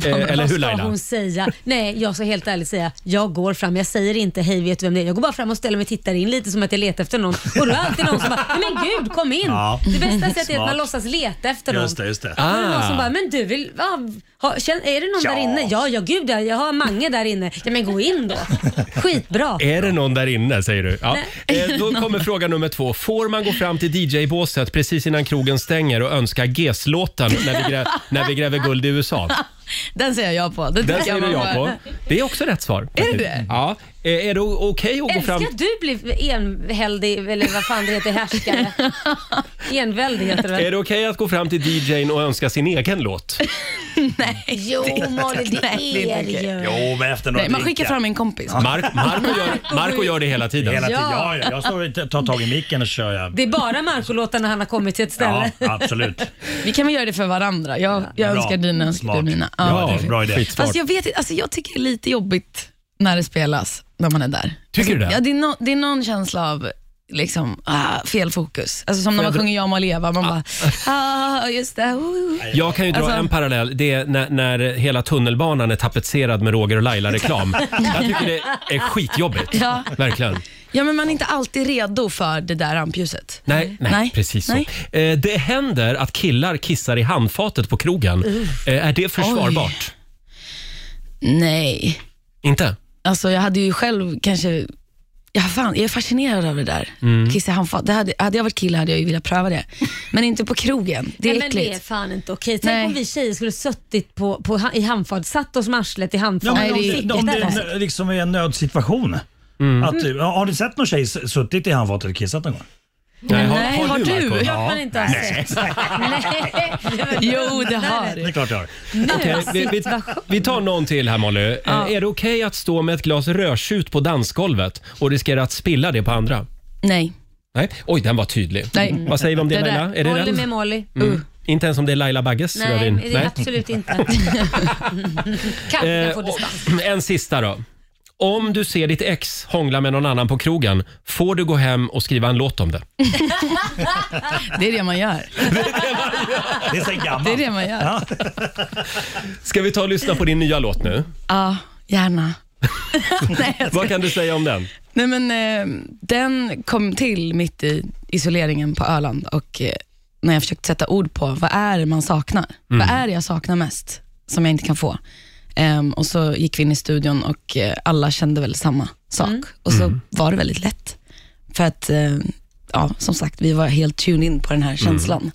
A: Eh, eller
C: Vad
A: hur
C: ska
A: Laila?
C: hon säga? Nej, jag ska helt ärligt säga, jag går fram. Jag säger inte hej, vet du vem det är? Jag går bara fram och ställer mig och tittar in lite som att jag letar efter någon. Och då är det alltid någon som bara, "Nej, men gud kom in.
I: Ja.
C: Det bästa sättet är att
I: Smart.
C: man låtsas leta efter någon.
I: Just det, just det.
C: Då är det någon som
I: Ah.
C: bara, men du vill, ja, ha, känn, är det någon
I: Ja.
C: där inne? Ja, ja gud ja, jag har Mange där inne. Ja men gå in då. Skitbra.
A: Är det någon där inne säger du? Ja.
C: Nej.
A: Eh, då kommer fråga nummer två. Får man gå fram till DJ-båset precis innan krogen stänger och önska GES-låten när, vi grä- när vi gräver guld i USA?
J: Den säger jag på. Det
A: Den
J: tycker
A: säger du
J: man
A: ja
J: bara-
A: på. Det är också rätt svar.
J: Är det det?
A: Ja. Eh, Är det o- okej att gå
C: Älskar
A: fram...
C: att du blir enväldig, eller vad fan det heter, härskare. enväldig heter det väl?
A: Är det okej att gå fram till DJn och önska sin egen låt?
J: Eh. Nej.
C: Jo, Molly, det
J: Nej, det är
C: är
J: inte
C: det ju.
I: Jo, men efter några
J: Nej, man skickar
I: drinkar.
J: fram en kompis.
A: Mark- Marco gör- Marco gör det hela tiden.
I: Hela tiden.
C: Ja.
I: Ja, ja, jag står och tar tag i micken och kör. Jag.
C: Det är bara Marco-låtar när han har kommit till ett ställe.
I: Ja, absolut.
J: Vi kan väl göra det för varandra. Jag, jag
I: Bra.
J: önskar dina, önskar du
I: Smart.
J: mina.
I: Ja,
J: det är
I: bra idé.
J: fint.
I: Skitsmart.
J: Fast jag vet inte, alltså jag tycker det är lite jobbigt när det spelas, när man är där.
A: Tycker du
J: alltså,
A: det?
J: Ja, det är, nå- det är någon känsla av liksom, ah, fel fokus. Alltså som
A: Får
J: när
A: jag
J: man
A: dra-
J: sjunger Jag må leva, man bara, ah, just det. Oh.
A: Jag kan ju dra
J: Alltså-
A: en parallell. Det är när, när hela tunnelbanan är tapetserad med Roger och Laila-reklam. Jag tycker det är skitjobbigt.
J: Ja.
A: Verkligen.
J: Ja, men man är inte alltid redo för det där rampljuset.
A: Nej, nej,
J: Nej.
A: precis så.
J: Nej.
A: Eh, det händer att killar kissar i handfatet på krogen.
J: Uff.
A: Eh, är det försvarbart?
J: Nej.
A: Inte?
J: Alltså jag hade ju själv kanske, ja, fan, jag är fascinerad av det där.
A: Mm.
J: Kissa i handfat. Det hade, hade jag varit kille hade jag ju velat pröva det. Men inte på krogen, det är
C: Nej, men det är
J: äckligt.
C: fan inte okej. Tänk om vi tjejer skulle suttit på, på, i handfat, satt oss med arslet i handfat.
I: Ja, men
C: och
I: om,
C: fickat
I: det, om det
C: där.
I: är en- liksom är en nödsituation.
A: Mm.
I: Att, ja, har du sett någon tjej s- suttit i handfatet och kissat någon gång?
A: Nej, har- Nej, har har du, du? Marco?
I: Ja.
A: Klart
C: man inte har
I: Nej.
C: sett. Nej.
J: Jo, det har
I: Det är klart jag har.
A: Okej, vi, vi, vi tar någon till här Molly. Eh,
J: Ja.
A: Är det okej att stå med ett glas rödtjut på dansgolvet och riskera att spilla det på andra?
J: Nej.
A: Nej. Oj, den var tydlig.
J: Nej.
A: Vad säger vi om det,
J: Det där.
A: Laila? Är det
C: Molly
A: rätt?
C: med Molly.
A: Mm. Inte ens om det är Laila Bagges
C: Nej,
A: rödvin?
C: det är absolut inte. Kanske kan få
A: Eh,
C: dispens.
A: och- En sista då. Om du ser ditt ex hångla med någon annan på krogen får du gå hem och skriva en låt om det.
J: Det är det man gör.
A: Det är så
J: Det är det man gör. Ja,
A: Ska vi ta och lyssna på din nya låt nu?
J: gärna.
A: Vad kan du säga om den?
J: Nej, men, eh, den kom till mitt i isoleringen på Öland och eh, när jag försökte sätta ord på vad är det man saknar?
B: Mm.
J: Vad är det jag saknar mest som jag inte kan få? Ehm, och så gick vi in i studion och eh, alla kände väl samma sak. Och så var det väldigt lätt. För att, eh, ja, som sagt, vi var helt tuned in på den här känslan.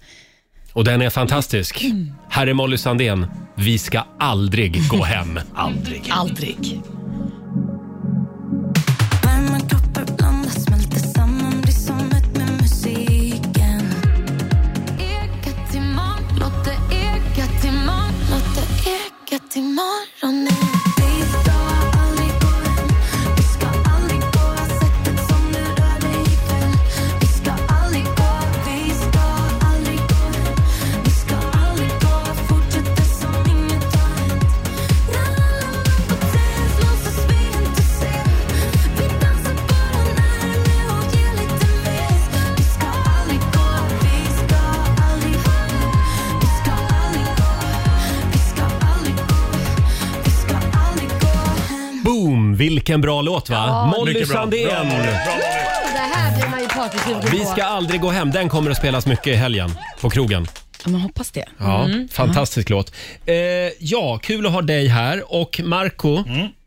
A: Och den är fantastisk. Här är Molly Sandén. Vi ska aldrig gå hem. aldrig.
J: Aldrig.
B: Varma kroppar blandas, smälter samman, blir som ett med musiken. Eka till morgon, låt det eka till morgon, låt det eka till morgonen. Vi ska aldrig gå hem, vi ska aldrig gå av sättet som du rör dig ikväll. Vi ska aldrig gå, vi ska aldrig gå hem, vi ska aldrig gå och fortsätta som inget har hänt. När alla män på dans låtsas vi inte ser. Vi dansar bara när det nu och ger lite mer. Vi ska aldrig gå, vi ska aldrig ha hem. Vi ska aldrig gå, vi ska aldrig gå, vi ska aldrig gå hem.
A: Boom! Vilken bra låt va?
L: Ja.
A: Molly
L: Mycket bra.
A: Sandén!
L: Bra, bra,
M: Det här blir man ju partysugen på.
A: Vi ska aldrig gå hem. Den kommer att spelas mycket i helgen på krogen.
J: Ja, man hoppas det.
A: Ja,
J: Mm.
A: Fantastisk låt. Eh, ja, kul att ha dig här. Och Marco,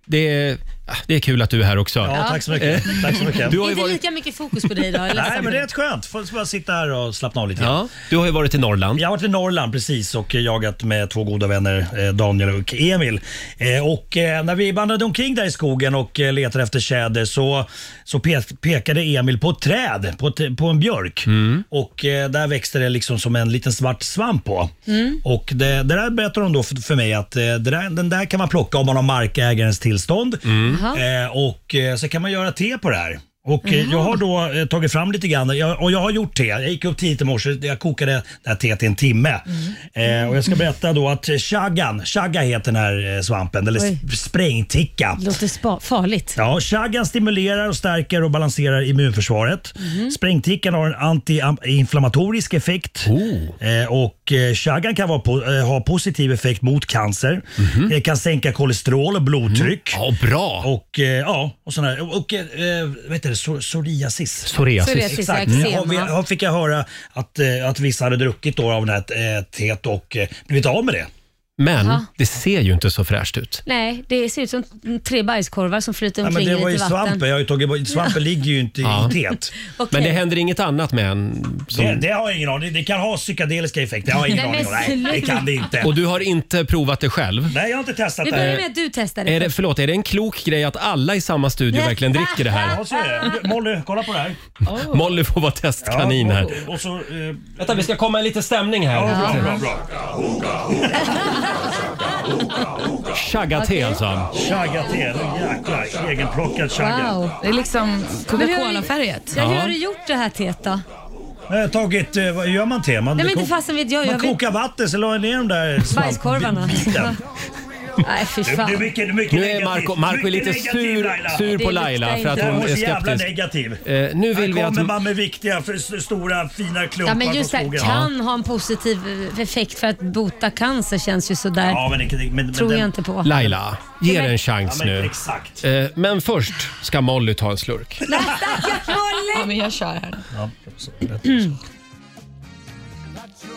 A: det, är, ah, det är kul att du är här också.
C: Ja, tack så mycket.
A: Eh,
C: Tack så mycket.
A: Du har ju
C: inte
A: varit,
C: lika mycket fokus på dig idag. jag är
I: Nej,
C: ledsen.
I: men det är rätt skönt. Får bara sitta här och slappna av lite
A: ja, Du har ju varit i Norrland.
I: Jag har varit i Norrland precis och jagat med två goda vänner, eh, Daniel och Emil. Eh, Och eh, när vi vandrade omkring där i skogen och eh, letade efter tjäder så, så pe- pekade Emil på ett träd, på, ett, på en björk.
A: Mm.
I: Och eh, där växte det liksom som en liten svart svamp på.
B: Mm.
I: Och det, det där berättar de då för, för mig att eh, det där, den där kan man plocka om man har markägarens tillstånd.
B: Jaha.
I: Eh, och eh, så kan man göra te på det här. Och eh,
B: Jaha.
I: jag har då eh, tagit fram lite grann jag, och jag har gjort te. Jag gick upp tidigt i morse, jag kokade det här teet i en timme. Eh, och jag ska berätta då att chaggan, chagga heter den här eh, svampen, eller
C: Oj.
I: sp- sprängticka.
C: Låter spa- farligt.
I: Ja, chaggan stimulerar och stärker och balanserar immunförsvaret.
A: Mhm.
I: Sprängtickan har en antiinflammatorisk effekt.
A: Oh.
I: Eh, och eh, chaggan kan vara po- eh, ha positiv effekt mot cancer. Det kan sänka kolesterol och blodtryck.
A: Mhm. Mm. Ja, bra!
I: Och, eh, ja, och sån här, och eh, vad heter det? Psor- Psoriasis.
A: Psoriasis. Psoriasis,
I: Exakt. Mm.
A: ja, eczema.
I: Och vi, och fick jag höra att, eh, att vissa hade druckit då av det här eh, teet och eh, blivit av med det.
A: Men
C: Jaha.
A: det ser ju inte så fräscht ut.
C: Nej, det ser ut som tre bajskorvar som flyter
I: Ja,
C: omkring
I: men det var
C: i
I: ju
C: lite vatten.
I: svampen. Jag har ju tagit bort, svampen ligger ju inte
A: Ja.
I: i teet.
C: Okej.
A: Men det händer inget annat med en? som-
I: Det, det har jag ingen aning Det kan ha psykedeliska effekter. Jag har ingen
C: Nej, men
I: aning om. Nej, det kan det inte.
A: Och du har inte provat det själv?
I: Nej, jag har inte testat
C: Vi börjar med att du testar det.
A: eh, Är det, förlåt, är det en klok grej att alla i samma studio verkligen dricker det här?
I: Ja, så är det. Molly, kolla på det här.
C: Oh.
A: Molly får vara testkanin här.
I: Ja, och, och så, eh,
A: Vänta, vi ska komma i lite stämning här.
I: Ja, bra, bra, bra.
A: Chagga-te alltså.
I: Chagga-te, jäklar. Egenplockad chagga.
J: Wow. Det är liksom
C: Men hur har du-
J: Coca-Cola-färget.
C: Ja, hur
I: Ja.
C: har du gjort det här teet då?
I: Jag har tagit, eh, vad gör man te? Man,
C: Nej, men
I: kok-
C: inte fasen vet jag.
I: man
C: Jag vet-
I: kokar vatten, så la jag ner de där svamp-
C: Bajskorvarna.
I: biten.
C: Nej, fy
I: Du,
C: fan.
I: du, är mycket, du är mycket
A: Nu är
I: negativ.
A: Marco- Marco är
I: Mycket
A: lite
I: negativ,
A: sur-
I: Laila.
A: sur på Det Laila luktar för att inte. hon
I: Jag
A: är
I: så jävla
A: skeptisk.
I: negativ.
A: Eh, nu vill vi
I: Här
A: att...
I: kommer man med viktiga, för, s- stora, fina klumpar
C: Ja, men just
I: från
C: det här,
I: skogen.
C: kan ha en positiv eh, effekt för att bota cancer känns ju sådär.
I: Ja, men, det- men, men
C: Tror jag
I: den-
C: inte på.
A: Laila, ge det en chans
I: Ja, men
A: nu.
I: exakt.
A: Eh, Men först ska Molly ta en slurk.
J: Ja, men jag kör här.
I: Ja, så-
J: Mm.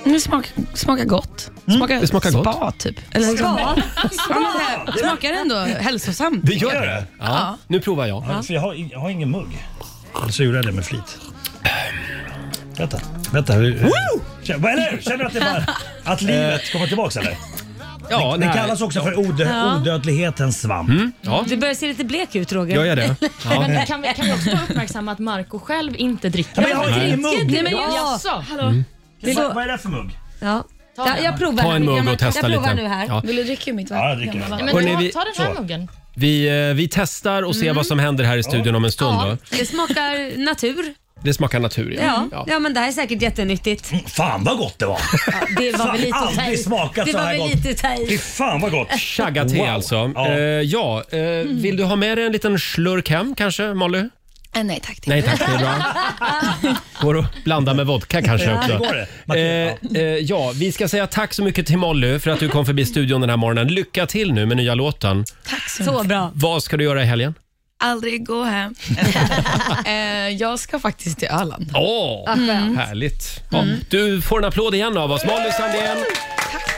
J: Det smakar, smakar gott. Smakar
A: Mm. det smakar
J: spa,
A: gott.
J: typ. Eller liksom-
B: Spa?
J: smakar, smakar ändå hälsosamt.
A: Det gör det?
J: Ja.
A: Ja. Nu provar jag.
I: Ja, för Alltså, jag, har, jag har ingen mugg. Så gjorde jag det med flit. Vänta, vänta. hur- Känner, vad- eller hur? Känner du att, det bara, att livet kommer tillbaka eller?
A: Eh. Ja,
I: det
A: nej. Mm,
I: kallas också för odö,
C: Ja.
I: odödlighetens svamp.
C: Du börjar se lite blek ut Roger.
I: Gör jag det? Ja.
D: Men kan, vi, kan vi också uppmärksamma att Marco själv inte dricker?
I: Ja, men jag har ju ingen mugg.
C: Nej, men jag-
D: Jaså? Hallå?
I: Mm. Det är bara- Vad är det för mugg?
C: Ja.
D: Ta
C: Ja,
D: den.
C: jag provar.
A: Ta en
C: nu.
A: mugg och
C: Jag
A: testa
C: provar
A: lite.
C: nu här.
A: Ja. Vill
J: du dricka mitt
I: Ja, jag dricker.
D: Nej, men
A: Hörrni,
D: ta,
A: vi-
D: ta den här
A: så.
D: muggen.
A: Mm. Vi, eh, vi testar och ser vad som händer här i studion om en stund.
C: Ja,
A: Då.
C: det smakar natur.
A: Det smakar natur,
C: Ja, ja. men det här är säkert jättenyttigt.
I: Fan vad gott det var!
C: Det var
I: Fan,
C: väl lite att ta i.
I: aldrig smakat
C: Det
I: så
C: var
I: här
C: väl
I: gott.
C: lite att ta i.
I: Fan vad gott!
A: Chagga-te alltså. Ja, ja eh, vill du ha med dig en liten slurk hem kanske, Molly?
J: Eh, nej tack.
A: Nej tack, det är bra. Går att blanda med vodka kanske
J: Ja,
A: också.
J: det går det.
A: Eh, eh, ja, vi ska säga tack så mycket till Molly för att du kom förbi studion den här morgonen. Lycka till nu med nya låten.
J: Tack så,
C: så bra.
A: Vad ska du göra i helgen?
J: Aldrig gå hem. eh, jag ska faktiskt till Öland.
A: Åh,
J: Mm.
A: härligt. Ja, Du får en applåd igen av oss, Molly Sandén.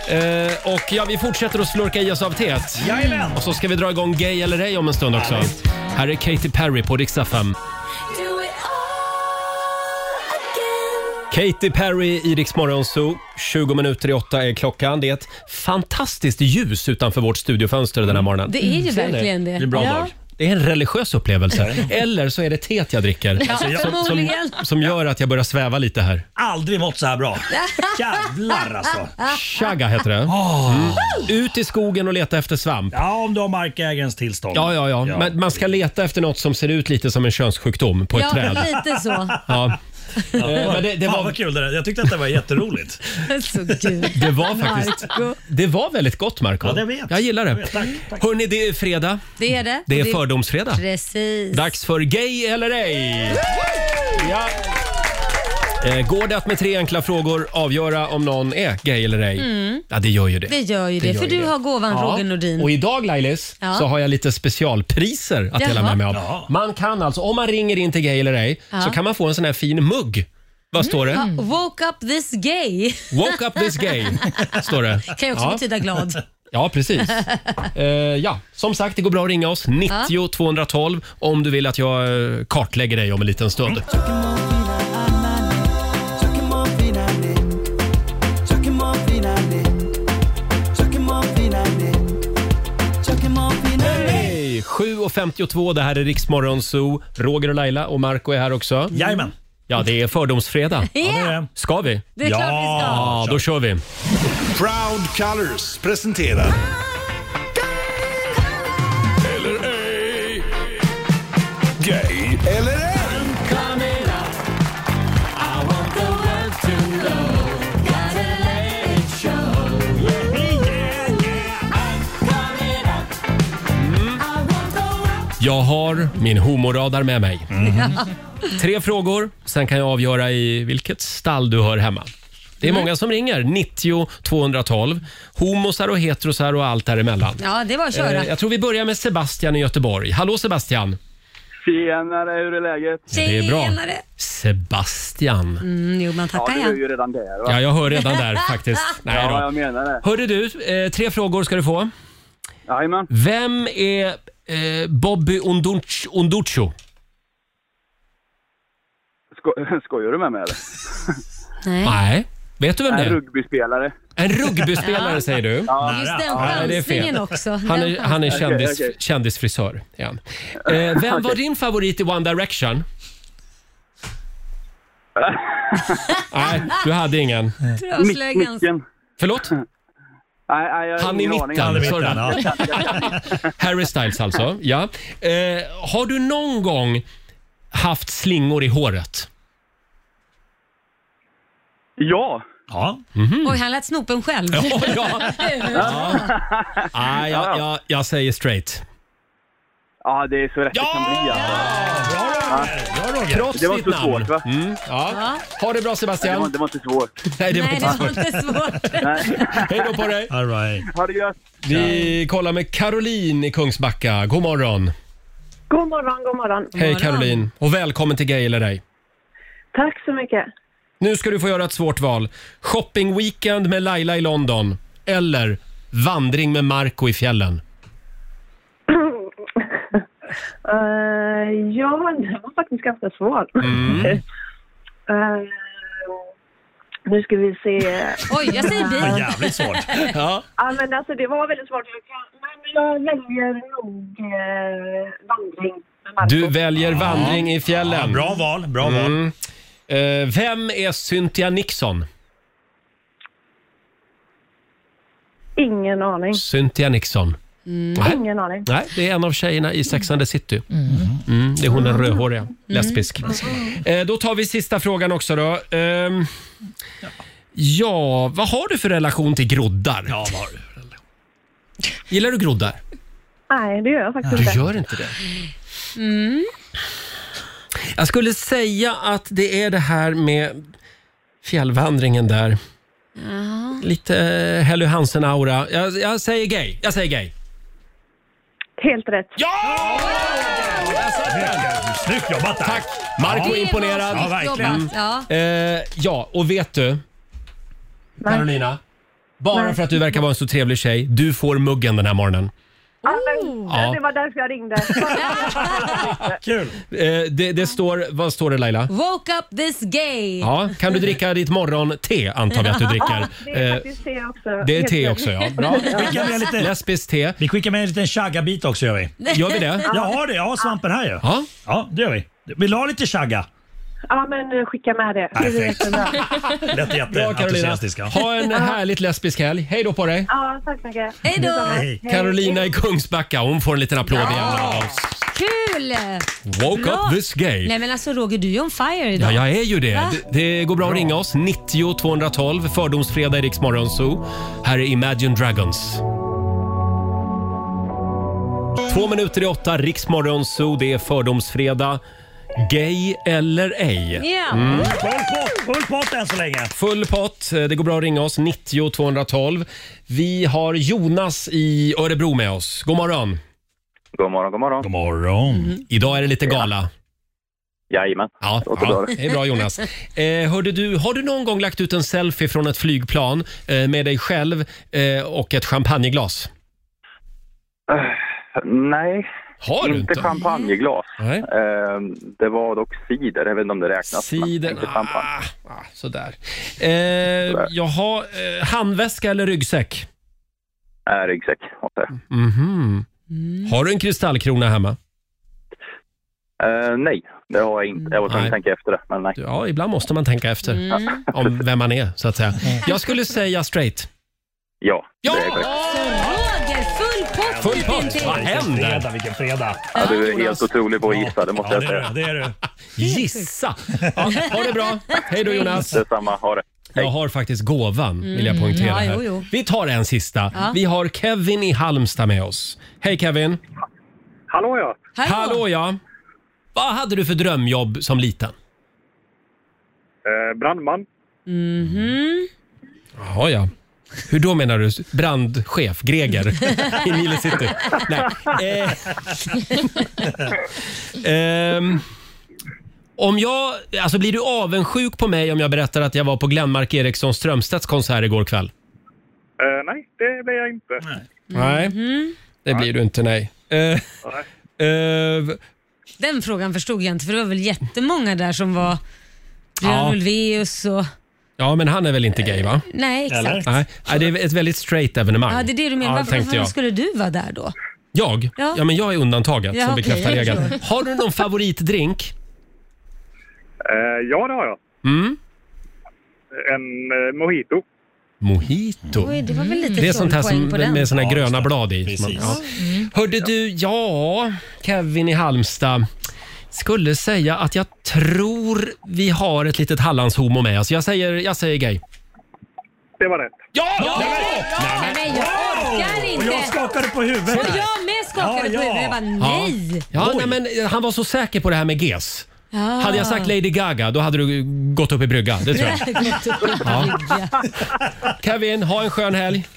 A: Eh, och ja, vi fortsätter att slurka i oss av teet.
I: Jajamän.
A: Och så ska vi dra igång Gay eller ej om en stund också. Här är Katy Perry på Rix FM. Katy Perry i Rix Morgon Zoo. 20 minuter i åtta är klockan. Det är ett fantastiskt ljus utanför vårt studiofönster
J: Mm.
A: den här morgonen. Mm.
C: Det är ju
A: Ser ni?
C: verkligen det.
A: Det är en bra
C: Ja.
A: dag. Det är en religiös upplevelse. Eller så är det teet jag dricker
C: Ja,
A: som, som,
C: förmodligen.
A: som gör att jag börjar sväva lite här.
I: Aldrig mått så här bra. Jävlar alltså.
A: Chagga heter det.
I: Ah.
A: Mm. Ut i skogen och leta efter svamp.
I: Ja, om du har markägarens tillstånd.
A: Ja, ja, ja.
I: Ja.
A: Men man ska leta efter något som ser ut lite som en könssjukdom på ett
C: ja,
A: träd.
C: lite så.
A: Ja.
I: Ja,
A: Eh, men det, det,
I: Fan
A: var,
I: vad kul det där. Jag tyckte att det var jätteroligt.
C: Så gud.
A: det var faktiskt... Det var väldigt gott, Marco.
I: Ja, det vet.
A: Jag gillar det.
I: Jag vet. Tack, tack.
A: Hörni, det är fredag.
C: Det är det.
A: Det
C: Och
A: är fördomsfredag.
C: Precis.
A: Dags för Gay eller ej! Ja. Eh, Går det att med tre enkla frågor avgöra om någon är gay eller ej?
C: Mm.
A: Ja, det gör ju det.
C: Det gör ju det, för du har gåvan Roger Nordin.
A: Och idag Lailis
C: Ja.
A: så har jag lite specialpriser att dela
C: Jaha.
A: med mig av.
C: Jaha.
A: Man kan alltså, om man ringer in till Gay eller ej,
C: Ja. Mm.
A: så kan man få en sån här fin mugg. Vad står det?
C: Ja, woke up this gay.
A: Woke up this gay, står det.
C: Kan ju också betyda glad.
A: Ja, precis. Eh, ja, som sagt, det går bra att ringa oss. 90 212 om du vill att jag eh, kartlägger dig om en liten
C: Mm.
A: stund. Hej! 7.52, det här är Riksmorgon Zoo. Roger och Laila och Marco är här också.
I: Jajamän.
A: Ja, det är fördomsfredag.
C: Ja, det är det.
A: Ska vi?
C: Det är klart vi ska.
A: Ja, då kör vi.
K: Proud Colors presenterar... Eller ej. Gay eller ej.
A: Jag har min homoradar med mig.
C: Ja.
A: Tre frågor, sen kan jag avgöra i vilket stall du hör hemma. Det
C: Mm.
A: är många som ringer, 90 212. Homosar och heterosar och allt däremellan.
C: Ja, det var att köra.
A: Eh, Jag tror vi börjar med Sebastian i Göteborg. Hallå Sebastian!
L: Tjenare, hur är läget?
A: Det är bra. Sebastian.
C: Mm, jo, man tackar
L: Ja, du är
C: igen.
L: ju redan där va?
A: Ja, jag hör redan där faktiskt. Nej
L: ja,
A: då.
L: jag menar det.
A: Hörde du, eh, tre frågor ska du få.
L: Jajamän.
A: Vem är eh, Bobby Onduch- Onducho?
C: Eh.
L: Sko skojar du med mig eller?
C: Nej.
A: Nej. Vet du vem det
L: En
A: är?
L: rugbyspelare.
A: En rugbyspelare
C: Ja.
A: säger du.
L: Ja.
C: Just den
A: Nej, det är fel.
C: chansningen också.
A: Han är,
C: Den
A: han är
L: Okej,
A: kändis,
L: okej.
A: kändisfrisör. är han. Eh, vem var din favorit i One Direction? Nej, du hade ingen.
C: chansningen. Avslöjans.
L: Micken.
A: Förlåt?
L: Nej, nej, jag har
A: Han i
L: ingen
A: mitten.
L: aning.
A: sa du det?
I: ja.
A: Harry Styles alltså. Ja. Eh, har du någon gång haft slingor i håret?
L: Ja.
I: ja.
A: Mhm.
C: Oj, han lät snopen själv.
A: Mm. Ja, ja. Nej, jag, jag, Ah, jag säger straight.
L: Ja, det är så rätt det kan bli alltså.
I: Bra Roger.
A: Trots
L: Det var
A: ditt
L: inte
A: namn.
L: svårt, va?
A: Mm, ja. Ha det bra
L: Det var,
A: Sebastian.
L: det var inte svårt.
A: Nej, det var
C: Nej,
A: inte
C: det var
A: svårt.
C: inte svårt.
A: Eh, Hej då på dig.
I: All right.
L: Ha det gött.
A: Vi kollar med Caroline i Kungsbacka. God morgon.
N: God morgon, god morgon.
A: Hej Caroline och välkommen till Gay eller ej.
N: Tack så mycket.
A: Nu ska du få göra ett svårt val. Shoppingweekend med Laila i London eller vandring med Marco i fjällen.
N: Eh, ja, det var faktiskt ganska svårt.
A: Mm.
N: Eh, nu ska vi se.
C: Oj, jag säger
I: Det var
C: bil.
I: jävligt svårt.
A: Ja.
N: Ja, men alltså, det var väldigt svårt. Jag kan- Men jag väljer nog eh, vandring med Marco.
A: Du väljer vandring i
I: Ja,
A: fjällen.
I: bra val, bra val.
A: Mm. Eh, vem är Cynthia Nixon?
N: Ingen aning.
A: Cynthia Nixon.
C: Mm.
A: Nej.
N: Ingen aning.
A: Nej, det är en av tjejerna i Sex and the City. Mm, det är hon den rödhåriga, lesbisk.
C: Mm.
A: Eh, då tar vi sista frågan också då. Ehm, ja, vad har du för relation till groddar? Ja, vad har du Gillar du groddar?
N: Nej, det gör jag faktiskt
A: Du
N: inte.
A: gör inte det?
N: Mm.
A: Jag skulle säga att det är det här med fjällvandringen där. Lite eh, Helly Hansen-aura. Jag, jag säger gay. Jag säger gay.
N: Helt rätt.
A: Ja! Snyggt jobbat där. Tack! Marco
N: Ja.
A: är imponerad.
N: Det var snyggt Ja, verkligen. jobbat, ja.
A: Eh, ja, och vet du? Carolina. Bara
N: Nej.
A: för att du verkar vara en så trevlig tjej, du får muggen den här morgonen.
N: Ja, men,
C: Oh!
A: Ja.
N: Det var därför jag ringde.
A: Kul! Eh, det, det står, vad står det Laila?
C: Woke up this gay.
A: Ja, kan du dricka ditt morgonte antar vi att du dricker.
N: Ja, det är
A: Eh,
N: faktiskt te också.
A: det är
N: Helt
A: te
N: rätt.
A: också ja. Bra.
I: Skicka med lite-
A: Lesbiskt te.
I: Vi skickar med en liten chaggabit också gör vi.
A: Gör vi det?
I: Jag har det, jag har svampen här ju.
A: Ja,
I: ja det gör vi. Vill du ha lite chagga?
N: Ja, men eh, skicka med det. Det är
I: Perfekt.
N: jättebra.
I: Lät
A: Bra Carolina.
I: jätteentusiastiska.
A: Ha en härligt lesbisk helg. Hej då på dig!
N: Ja, tack så mycket.
C: Hej då.
N: Hej.
A: Carolina i Kungsbacka, hon får en liten applåd igen av oss.
C: Kul!
A: Woke up this gay.
C: Nej men alltså Roger, du är on fire
A: Ja,
C: idag.
A: jag är ju det.
C: Va?
A: Det, det går bra, att ringa oss. 90 212, Fördomsfredag i Rix Morgon Zoo. Här är Imagine Dragons. Två minuter i åtta, Rix Morgon Zoo. Det är Fördomsfredag. Gay eller ej?
I: Ja.
A: Mm.
I: Full pott, full pott än så länge.
A: Full pott. Det går bra att ringa oss. 90 212. Vi har Jonas i Örebro med oss. God morgon. Mm.
O: God morgon, god morgon.
I: God morgon.
A: Idag är det lite gala.
O: Jajamän.
A: Ja, ja, det är bra Jonas. Eh, hörde du, har du någon gång lagt ut en selfie från ett flygplan eh, med dig själv eh, och ett champagneglas?
O: Nej,
A: Har du
O: inte,
A: inte?
O: champagneglas. Eh, det var dock cider, jag vet inte om det räknas.
A: Cider,
O: Men inte champagne.
A: Ah, sådär. Eh, jaha, eh, handväska eller ryggsäck?
O: Äh, ryggsäck.
A: Mhm. Har du en kristallkrona hemma?
O: Eh, nej, det har jag inte. Jag var tvungen
A: Nej.
O: att tänka efter det, men nej.
A: Mm. Ja, ibland måste man tänka efter
O: Mm.
A: om vem man är, så att säga. Jag skulle säga straight.
O: Ja,
A: Ja!
O: det är korrekt.
C: Så Roger, full pott!
A: Full pott.
C: Vilken
A: Vad
C: till.
A: händer?
I: Fredag, vilken fredag.
O: Ja, du är helt otrolig på att gissa, det måste
I: Ja,
O: jag
I: det är du.
O: säga.
I: Det är du.
A: Gissa! Ja, ha det bra. Hej då Jonas.
O: Detsamma, ha det.
A: Jag har faktiskt gåvan, vill jag
O: Mm.
A: poängtera.
O: Ja,
A: här.
O: jo, jo.
A: Vi tar en sista.
O: Ja.
A: Vi har Kevin i Halmstad med oss. Hej Kevin!
P: Hallå ja.
A: Hallå, ja! Vad hade du för drömjobb som liten?
P: Eh, brandman.
C: Mhm.
A: Jaha ja. Hur då menar du? Brandchef Greger i Nile City? Nej. Eh, Ehm, om jag, alltså blir du avundsjuk på mig om jag berättar att jag var på Glenmark Eriksson Strömstedts konsert igår kväll?
P: Eh, nej, det blir jag inte.
A: Nej,
C: Mhm.
A: det blir du inte nej. Eh, eh,
C: Den frågan förstod jag inte för det var väl jättemånga där som var
A: Ja.
C: Björn Ulvaeus och...
A: ja, men han är väl inte gay va?
C: Eh, Nej, exakt. Eller?
A: Nej, nej, det är ett väldigt straight evenemang.
C: Ja, det är det du menar.
A: Ja,
C: varför
A: tänkte
C: varför
A: jag.
C: skulle du vara där då?
A: Jag? Ja.
C: Ja.
A: men jag är undantaget
C: Ja,
A: som
C: okej,
A: bekräftar
C: jag
A: regeln.
C: förstår.
A: Har du någon favoritdrink?
P: Eh, ja, det har jag.
A: Mm.
P: En eh, mojito.
A: Mojito.
P: Oj, det var väl lite
A: det är sånt här
P: trollpoäng
A: som,
P: på den.
A: med såna här
P: Ja,
A: gröna
P: just det.
A: blad i. som man-
P: Precis.
A: Ja.
C: Mm.
A: Hörde du, ja, Kevin i Halmstad. Skulle säga att jag tror vi har ett litet Hallandshomo med oss. Jag säger, jag säger gay.
P: Det var rätt.
A: Ja!
C: Nej, men jag orkar inte!
I: Och jag skakade på huvudet.
C: Så jag med skakade
I: Ja,
C: på
I: ja.
C: huvudet. Jag bara nej!
A: Ja, nej, men han var så säker på det här med GES.
C: Ja.
A: Hade jag
C: Ah.
A: sagt Lady Gaga, då hade du gått upp i brygga. Det tror jag. Kevin, ha en skön helg.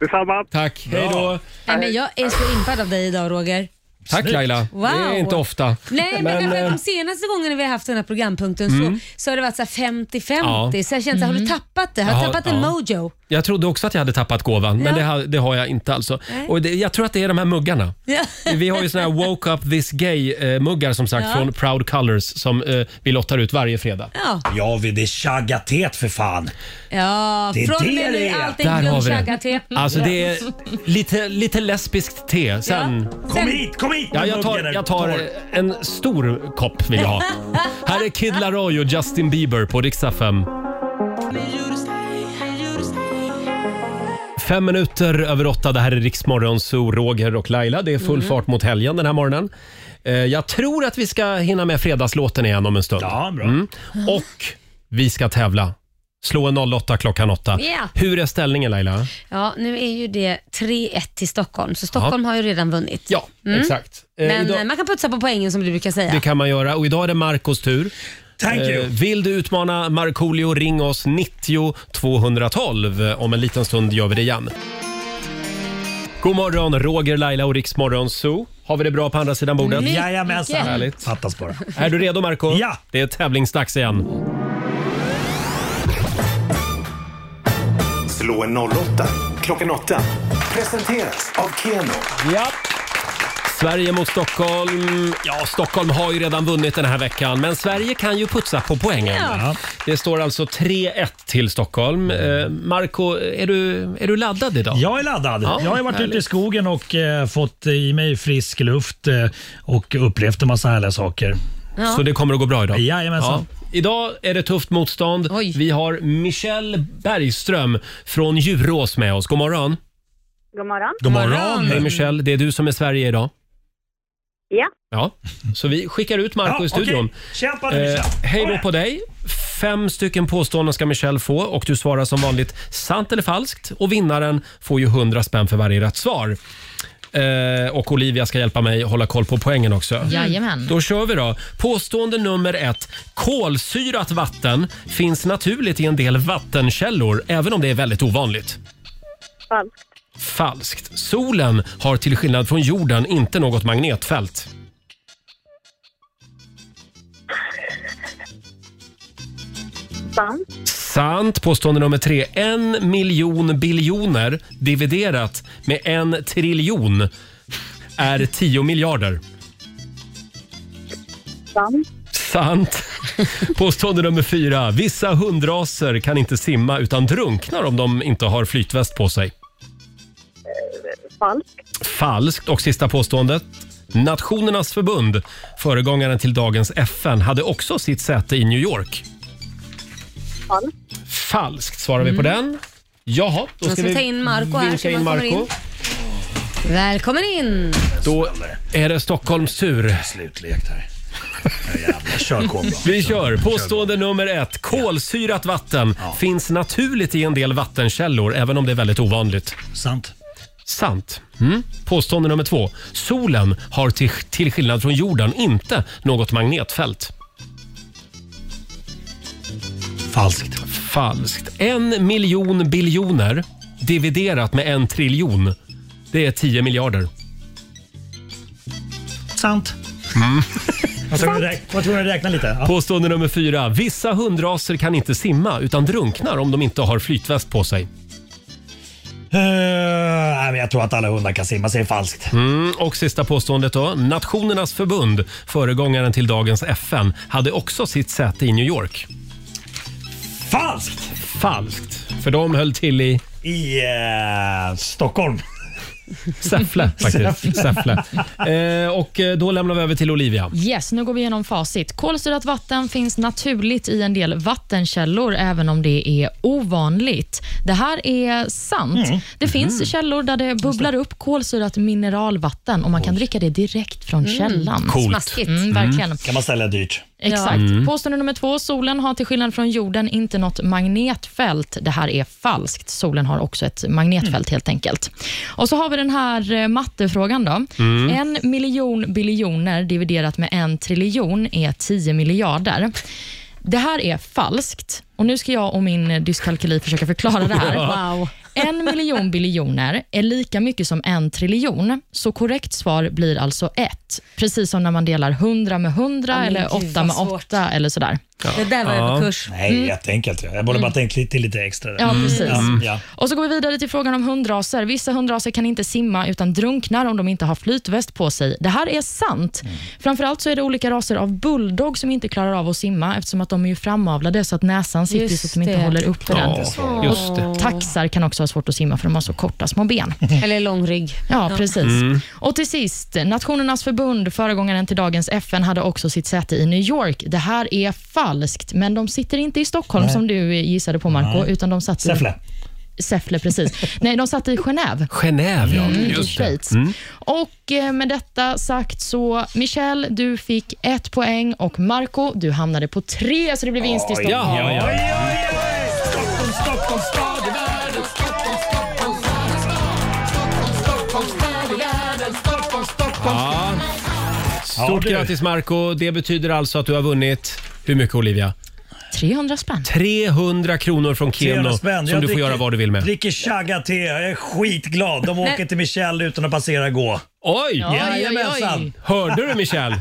P: Detsamma.
A: Tack. Hej då.
C: Nej, men jag är så impad av dig idag Roger.
A: Tack Laila.
C: Wow.
A: Det är inte ofta.
C: Nej, men, därför att
A: eh,
C: de senaste gångerna vi har haft den här programpunkten
A: Mm.
C: så, så har det varit så här 50-50.
A: Ja.
C: Så jag känner så här, har du tappat det? Har
A: Jaha,
C: du tappat en
A: ja.
C: mojo?
A: jag trodde också att jag hade tappat gåvan, men
C: Ja.
A: det, ha- det har jag inte alltså. Och det, jag tror att det är de här muggarna.
C: Ja.
A: Vi har ju såna här “Woke up this gay”-muggar som sagt
C: Ja.
A: från Proud Colors som eh, vi lottar ut varje fredag.
C: Ja.
I: Ja, vi- det är chaggatet för fan.
C: Ja,
I: Det är
C: från
I: det
C: och med
I: det
C: nu
I: är.
C: allting
A: Där har vi
C: gunchagga-te.
A: det. Alltså det är lite, lite lesbiskt te. Sen...
I: Kom hit, kom hit!
A: Ja, jag tar, jag tar en stor kopp vill jag ha. Här är Kid Laroi och Justin Bieber på riksdag 5. Fem minuter över åtta, det här är Riksmorgon, så Roger och Laila. Det är full
Q: Mm.
A: fart mot helgen den här morgonen. Eh, Jag tror att vi ska hinna med fredagslåten igen om en stund. Mm.
I: Ja, bra.
A: Och vi ska tävla. Slå en 08 klockan åtta.
C: Ja.
A: Hur är ställningen Laila?
C: Ja, nu är ju det 3-1 till Stockholm, så Stockholm har ju redan vunnit.
A: Ja, exakt. Eh,
C: Mm. Men
A: idag-
C: eh, man kan putsa på poängen som du brukar säga.
A: Det kan man göra. Och idag är det Marcos tur.
I: Thank you.
A: Eh, Vill du utmana Markoolio, ring oss 90 212. Eh, Om en liten stund gör vi det igen. God morgon, Roger, Laila och Riksmorgon Zoo. Har vi det bra på andra sidan bordet?
I: Mycket. Jajamensan.
A: Härligt.
I: Fattas bara.
A: Är du redo Marco?
I: Ja.
A: Det är tävlingsdags igen.
K: Slå en 08 klockan åtta. Presenteras av Keno.
A: Ja. Sverige mot Stockholm. Ja, Stockholm har ju redan vunnit den här veckan, men Sverige kan ju putsa på poängen.
C: Ja.
A: Det står alltså 3-1 till Stockholm. Eh, Marco, är du, är du laddad idag?
I: Mm. Jag är laddad. jag har varit ute i skogen och eh, fått i mig frisk luft eh, och upplevt en massa härliga saker.
A: Ja. Så det kommer att gå bra idag?
I: Jajamensan.
A: Idag är det tufft motstånd. Vi har Michelle Bergström från Djurås med oss. God morgon.
F: God morgon.
A: Hej Michelle, det är du som är Sverige idag.
F: Ja.
A: Ja, så vi skickar ut Marco
I: Ja,
A: i studion. Eh,
I: okej. Kämpa nu, Michelle.
A: hej då på dig. Fem stycken påståenden ska Michelle få och du svarar som vanligt sant eller falskt. Och vinnaren får ju 100 spänn för varje rätt svar. Eh, och Olivia ska hjälpa mig hålla koll på poängen också.
D: Jajamän.
A: Då kör vi då. Påstående nummer ett. Kolsyrat vatten finns naturligt i en del vattenkällor, även om det är väldigt ovanligt.
F: Falskt.
A: Falskt. Solen har till skillnad från jorden inte något magnetfält.
F: Sant.
A: Sant. Påstående nummer tre. En miljon biljoner dividerat med en triljon är tio miljarder.
F: Sant.
A: Sant. Påstående nummer fyra. Vissa hundraser kan inte simma utan drunknar om de inte har flytväst på sig.
F: Falskt.
A: Falskt. Och sista påståendet. Nationernas förbund, föregångaren till dagens FN, hade också sitt säte i New York.
F: Falskt.
A: Falskt svarar vi på den. Jaha, då
C: Man
A: ska,
C: ska
A: vi
C: ta in Marco här, så
A: vinka in
C: man kommer
A: Marco.
C: in. Välkommen in!
A: Då är det Stockholms tur.
I: Slutlekt här. Jävlar, kör kombo.
A: Vi kör. Påstående nummer ett. Kolsyrat vatten finns naturligt i en del vattenkällor, även om det är väldigt ovanligt.
I: Sant.
A: Sant. Mm. Påstående nummer två. Solen har till, till skillnad från jorden inte något magnetfält.
I: Falskt.
A: Falskt. En miljon biljoner dividerat med en triljon. Det är 10 miljarder.
I: Sant. Jag tror du räk- jag tror du räknar lite. Ja.
A: Mm. Påstående nummer fyra. Vissa hundraser kan inte simma utan drunknar om de inte har flytväst på sig.
I: Eh, nej, men jag tror att alla hundar kan simma, säger falskt.
A: Mm, och sista påståendet då. Nationernas förbund, föregångaren till dagens FN, hade också sitt säte i New York.
I: Falskt!
A: Falskt. För de höll till i
I: I eh, Stockholm.
A: Säffle faktiskt.
D: Säffle.
A: Säffle. Eh, och eh, då lämnar vi över till Olivia.
D: Yes, nu går vi igenom facit. Kolsyrat vatten finns naturligt i en del vattenkällor, även om det är ovanligt. Det här är sant.
C: Mm.
D: Det finns
C: Mhm.
D: källor där det bubblar upp kolsyrat mineralvatten och man kan dricka det direkt från
C: Mm.
D: källan.
I: Coolt.
D: Mm, verkligen.
I: Kan man sälja dyrt.
D: Exakt.
I: Mm.
D: Påstående nummer två. Solen har till skillnad från jorden inte något magnetfält. Det här är falskt. Solen har också ett magnetfält helt enkelt. Och så har vi den här eh, mattefrågan då.
B: Mm.
D: En miljon biljoner dividerat med en triljon är 10 miljarder. Det här är falskt. Och Nu ska jag och min dyskalkyli försöka förklara det här.
C: Wow.
D: En miljon biljoner är lika mycket som en triljon, så korrekt svar blir alltså ett. Precis som när man delar 100 med 100
C: Ja, men
D: eller
C: gud,
D: 8
C: vad
D: med
C: svårt.
D: 8 eller sådär.
C: Det där var jag på kurs.
I: Nej,
D: Mm.
I: jätteenkelt. Jag borde bara tänkt lite, till lite extra. där.
D: Ja, precis.
I: Ja, ja.
D: Och så går vi vidare till frågan om hundraser. Vissa hundraser kan inte simma utan drunknar om de inte har flytväst på sig. Det här är sant.
C: Mm.
D: Framförallt så är det olika raser av bulldog som inte klarar av att simma eftersom att de är ju framavlade så att näsan sitter ju så att de inte
C: det.
D: håller uppe den.
C: Ja, just det.
D: Och Taxar kan också ha svårt att simma för de har så korta små ben.
C: Eller lång rygg.
D: Ja, precis.
C: Mm.
D: Och till sist, Nationernas förbund, föregångaren till dagens FN, hade också sitt säte i New York. Det här är falskt, men de sitter inte i Stockholm
I: Nej.
D: som du gissade på, Marco,
I: Nej.
D: utan de satt i...
I: Säffle.
D: Säffle precis. Nej, de satt i Genève.
A: Genève, ja.
D: Mm, i
A: Just det.
D: Schweiz.
A: Mm.
D: Och eh, med detta sagt så, Michelle, du fick ett poäng och Marco, du hamnade på tre, så det blev vinst i
A: Oj,
D: Stockholm.
A: ja, ja, ja.
I: Stockholm, Stockholm, stad i världen. Stockholm, Stockholm, stad i Stockholm, Stockholm, stad i världen. Stockholm, Stockholm,
A: Ja. Stort
I: Ja, du.
A: grattis Marco. Det betyder alltså att du har vunnit, hur mycket Olivia?
D: 300 spänn.
A: 300 kronor från Keno
I: 300
A: som
I: spänn.
A: du
I: Jag
A: får
I: dricker-
A: göra vad du vill med.
I: Dricker chaga-te. Jag är skitglad. De åker till Michelle utan att passera gå.
A: Oj!
I: Jajamensan.
A: Hörde du Michelle?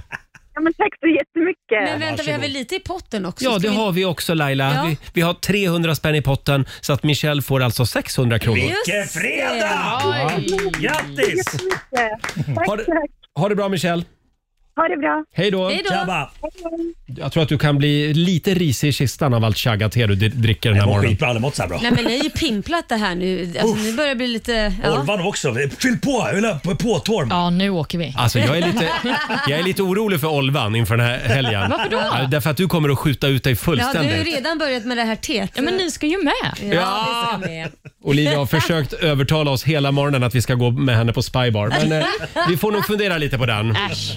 F: Ja, men tack så jättemycket.
C: Men vänta, vi har väl lite i potten också?
A: Ja,
C: Ska
A: det
C: vi-
A: har vi också Laila.
C: Ja.
A: Vi, vi har 300 spänn i potten så att Michelle får alltså 600 kronor.
I: Vilken fredag! Grattis!
A: Ha det, ha det bra Michelle.
F: Ha det bra.
A: Hej då.
I: Tjabba!
A: Jag tror att du kan bli lite risig i kistan av allt chaggat te du di- dricker den här
I: mår
A: morgonen.
I: skitbra, aldrig mått så här bra.
C: Nej men ni har ju pimplat det här nu. Alltså, nu börjar det bli lite... Ja.
I: Olvan också. Fyll på! Fyll upp på Torm.
D: Ja, nu åker vi.
A: Alltså jag är, lite, jag är lite orolig för Olvan inför den här helgen.
C: Varför då?
A: Ja, därför att du kommer att skjuta ut dig
C: Ja, du har ju
A: fullständigt.
C: redan börjat med det här teet.
D: Ja, men ni ska ju med.
A: Ja.
C: vi ska med.
A: Olivia har försökt övertala oss hela morgonen att vi ska gå med henne på spybar. Men eh, vi får nog fundera lite på den.
D: Äsch.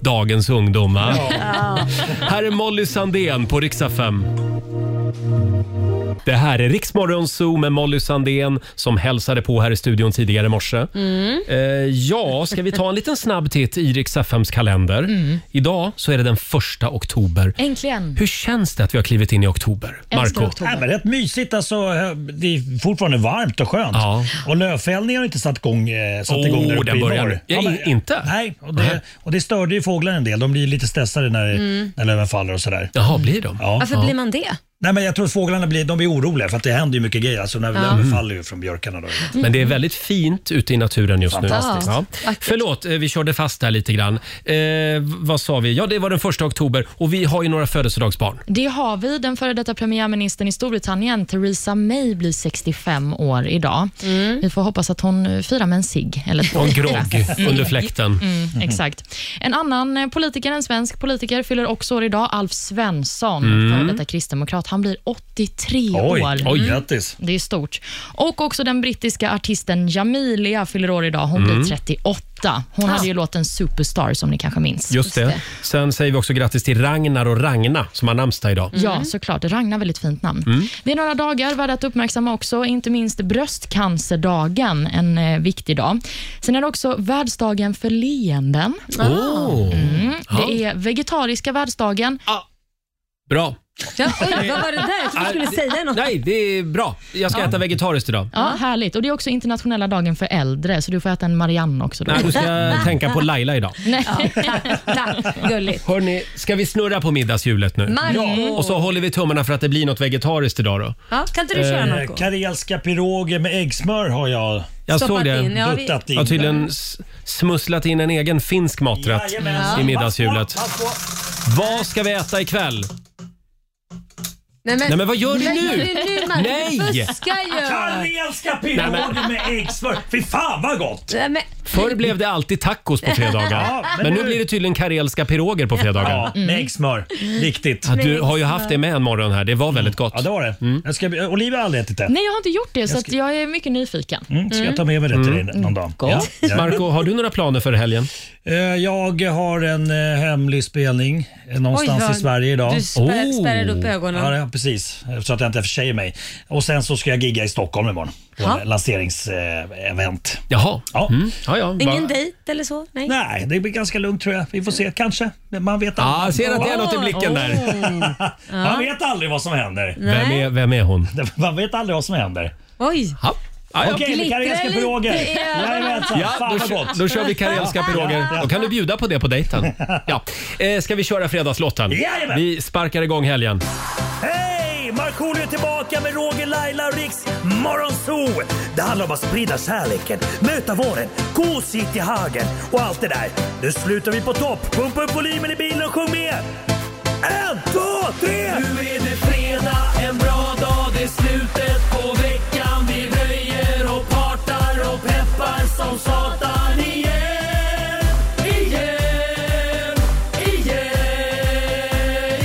A: Dagens ungdom va?
B: Ja.
A: Här är Molly Sandén på riksdag 5. Det här är Riksmorgon Zoo med Molly Sandén som hälsade på här i studion tidigare i morse.
B: Mm.
A: Eh, ja, ska vi ta en liten snabb titt i Rix FMs kalender? Idag så är det den första oktober.
D: Äntligen.
A: Hur känns det att vi har klivit in i oktober? Marco?
I: Nej, men rätt mysigt. Alltså, det är fortfarande varmt och skönt. Och lövfällningen har inte satt igång, eh, satt
A: Oh,
I: igång där uppe
A: den
I: i
A: börjar
I: norr.
A: nu. Ja, i- inte?
I: Nej, och det, och det störde ju fåglarna en del. De blir lite stressade när,
C: Mm.
I: när löven faller och sådär.
A: Jaha, blir de?
I: Ja.
C: Varför blir man det?
I: Nej, men jag tror att fåglarna blir, de blir oroliga för att det händer ju mycket grejer. Alltså när
C: Ja.
I: löven
A: Mm.
I: faller ju från björkarna. Då.
A: Men det är väldigt fint ute i naturen just nu.
I: Fantastiskt.
A: Ja. Förlåt, eh, vi körde fast där lite grann. Eh, vad sa vi? Ja, det var den första oktober och vi har ju några födelsedagsbarn.
D: Det har vi. Den före detta premiärministern i Storbritannien, Theresa May, blir 65 år idag. Vi får hoppas att hon eh, firar med en cigg eller två.
A: Och en grogg under fläkten.
D: Mm, exakt. En annan eh, politiker, en svensk politiker, fyller också år idag. Alf Svensson,
A: Mm.
D: före detta kristdemokrat. Han blir 83
I: Oj,
D: år.
I: oj,
D: Mm.
I: grattis.
D: Det är stort. Och också den brittiska artisten Jamilia fyller år idag. Hon
A: Mm.
D: blir 38. Hon
A: Ah.
D: hade ju låten Superstar, som ni kanske minns.
A: Just det. Sen säger vi också grattis till Ragnar och Ragna som har namnsdag idag.
D: Ja, såklart. Ragnar, väldigt fint namn.
A: Mm.
D: Det är några dagar värda att uppmärksamma också, inte minst bröstcancerdagen, en eh, viktig dag. Sen är det också världsdagen för leenden.
A: Åh.
D: Mm.
A: Ah. Oh. Ja.
D: Det är vegetariska världsdagen.
A: Bra.
C: Ja, oj, vad var det där? Jag trodde du skulle säga något.
A: Nej, det är bra. Jag ska
D: Ja.
A: äta vegetariskt idag.
D: Ja, härligt. Och Det är också internationella dagen för äldre, så du får äta en Marianne också. Då.
A: Nej, du ska tänka på Laila idag.
D: Nej.
C: Gulligt.
A: Hörni, ska vi snurra på middagshjulet nu?
C: Marco. Ja.
A: Och så håller vi tummarna för att det blir något vegetariskt idag då.
C: Ja, kan inte du köra
A: Eh,
C: något?
I: Karelska piroger med äggsmör har jag,
A: Jag såg det.
C: in, ja, vi-
I: duttat in.
A: Jag har tydligen s- smusslat in en egen finsk maträtt
I: Jajamensan.
A: i middagshjulet.
I: Pass på, pass på.
A: Vad ska vi äta ikväll?
C: Nej men,
A: Nej, men vad gör du nu?
C: nu Marco?
A: Nej!
C: Du fuskar ju!
I: Karelska
A: Nej,
I: piroger med äggsmör. Fy fan vad gott!
C: Nej, men,
A: Förr blev det alltid tacos på fredagar.
I: Ja, men
A: Men nu
I: nu-
A: blir det tydligen karelska piroger på fredagar.
I: Ja,
C: Mm.
I: med äggsmör. Viktigt.
A: Ja, Du har ju haft det med en morgon här. Det var väldigt gott. Mm.
I: Ja, det var det. Jag ska, Olivia har aldrig ätit det.
D: Nej, jag har inte gjort det, så att jag är mycket nyfiken.
I: Mm, ska jag ta med mig det till dig någon
C: Mm.
I: dag? Ja. Ja.
A: Marco, har du några planer för helgen?
I: Eh, Jag har en eh, hemlig spelning eh, någonstans
C: Oj, vad-
I: i Sverige idag. Oh!
C: Du spär, spärrade upp
I: Ja,
C: ögonen.
I: det- precis. Så att jag inte försäger mig. Och sen så ska jag gigga i Stockholm imorgon på
C: Ja.
I: en lanseringsevent.
A: Jaha. Mm.
I: Ja.
A: Ja, ja.
C: Ingen dejt eller så? Nej.
I: Nej, det blir ganska lugnt tror jag. Vi får se, kanske. Man vet
A: Ja, jag
I: aldrig.
A: ser att det är något i blicken där.
C: Oh.
I: Man vet aldrig vad som händer.
A: Vem
C: Nej.
A: är, vem är hon?
I: Man vet aldrig vad som händer.
C: Oj.
A: Ja. Ja, ja.
I: Okej,
C: Glittrar
I: det karelska
C: lite i
I: piroger.
C: ögonen.
I: Jajamensan,
A: Ja,
I: alltså, fan
A: då,
I: vad
A: kö-
I: gott.
A: då kör vi karelska piroger. Då kan du bjuda på det på dejten. Ja. Eh, ska vi köra fredagslotten?
I: Jajamän.
A: Vi sparkar igång helgen.
I: Hej! Markoolio är tillbaka med Roger, Laila och Riks Morgonzoo! Det handlar om att sprida kärleken, möta våren, gosigt i hagen och allt det där. Nu slutar vi på topp! Pumpa upp volymen i bilen och sjung med! En, två, tre! Nu är det fredag, en bra dag, det är slutet på veckan. Vi röjer och partar och peppar som satan igen, igen, igen,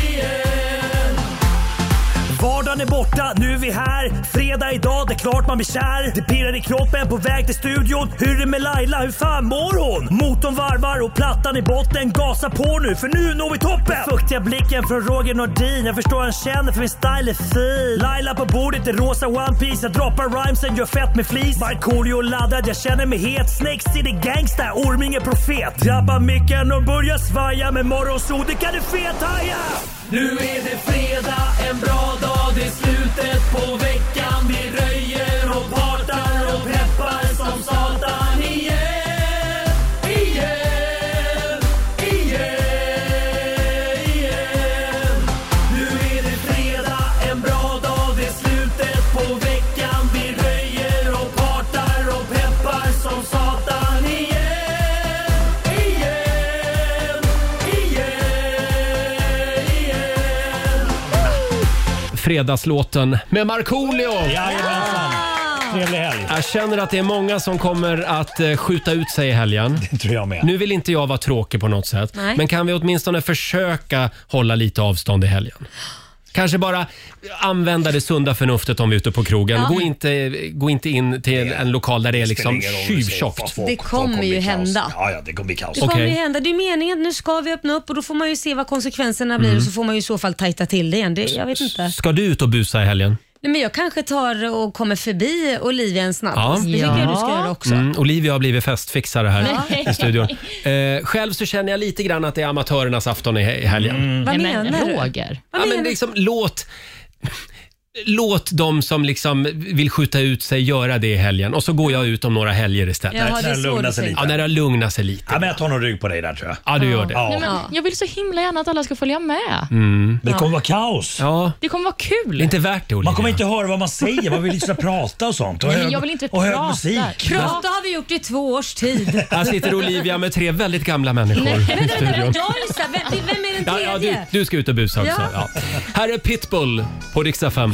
I: igen. Vardagen är är borta, nu är vi här. Fredag idag, det är klart man blir kär. Det pirrar i kroppen på väg till studion. Hur är det med Laila, hur fan mår hon? Motorn varvar och plattan i botten. Gasa på nu, för nu når vi toppen! Den fuktiga blicken från Roger Nordin. Jag förstår han känner för min style är fin. Laila på bordet i rosa One Piece Jag droppar rhymesen, gör fett med flis. Markoolio laddad, jag känner mig het. Snake City gangsta, Orminge profet. Drabbar micken och börjar svaja. Med morgonsol, det kan du fethaja!
H: Nu är det fredag, en bra dag, det är slutet på veckan. Vi röjer och partar och peppar som satan igen. Igen, igen, igen. Nu är det fredag, en bra dag, det är slutet på veckan. Vi röjer och partar och peppar som satan igen. Igen, igen, igen.
A: Fredagslåten med Markoolio!
H: Jajamensan!
A: Trevlig helg! Jag känner att det är många som kommer att eh, skjuta ut sig i helgen. Det tror jag med. Nu vill inte jag vara tråkig på något sätt,
C: Nej.
A: men kan vi åtminstone försöka hålla lite avstånd i helgen? Kanske bara använda det sunda förnuftet om vi är ute på krogen.
C: Ja.
A: Gå, inte, gå inte in till en lokal där det är liksom
C: spelar ingen roll,
A: tjuvtjockt.
C: Det kommer ju hända.
A: ja, det kommer bli kaos.
C: Det kommer ju hända. Det är meningen att nu ska vi öppna upp och då får man ju se vad konsekvenserna blir
A: Mm.
C: och så får man ju i så fall tajta till det igen. Det, jag vet inte.
A: Ska du ut och busa i helgen?
C: Nej, men jag kanske tar och kommer förbi Olivia en snabbis. Det tycker jag du ska göra också.
A: Mm, Olivia har blivit festfixare här
C: Nej.
A: i studion. Eh, själv så känner jag lite grann att det är amatörernas afton i, i helgen.
C: Vad Nej, men menar du?
D: Roger?
A: Mm. Ja, men liksom, låt, låt de som liksom vill skjuta ut sig göra det i helgen och så går jag ut om några helger istället.
D: Jaha, När det är det så lugnar du sig tänker. lite.
A: Ja, när det lugnat sig lite. Ja, men jag tar nog rygg på dig där tror jag. Ja, du gör det.
D: Nej, men jag vill så himla gärna att alla ska följa med.
A: Mm.
D: Det kommer
A: vara kaos. Ja.
D: Det kommer vara kul.
A: Det är inte värt det Olivia.
Q: Man kommer inte höra vad man säger, man vill inte prata och sånt. Och
D: Nej, men
Q: hög-
D: jag vill inte
Q: och hög
D: prata.
Q: musik.
C: Prata har vi gjort i två års tid.
A: Här sitter Olivia med tre väldigt gamla människor
C: Nej,
A: i
C: vänta, vänta,
A: studion.
C: vänta, jag gissar. Vem, det- vem är den
A: Ja,
C: tredje?
A: ja, du, du ska ut och busa också. Ja.
C: Ja.
A: Här är Pitbull på riksdag 5.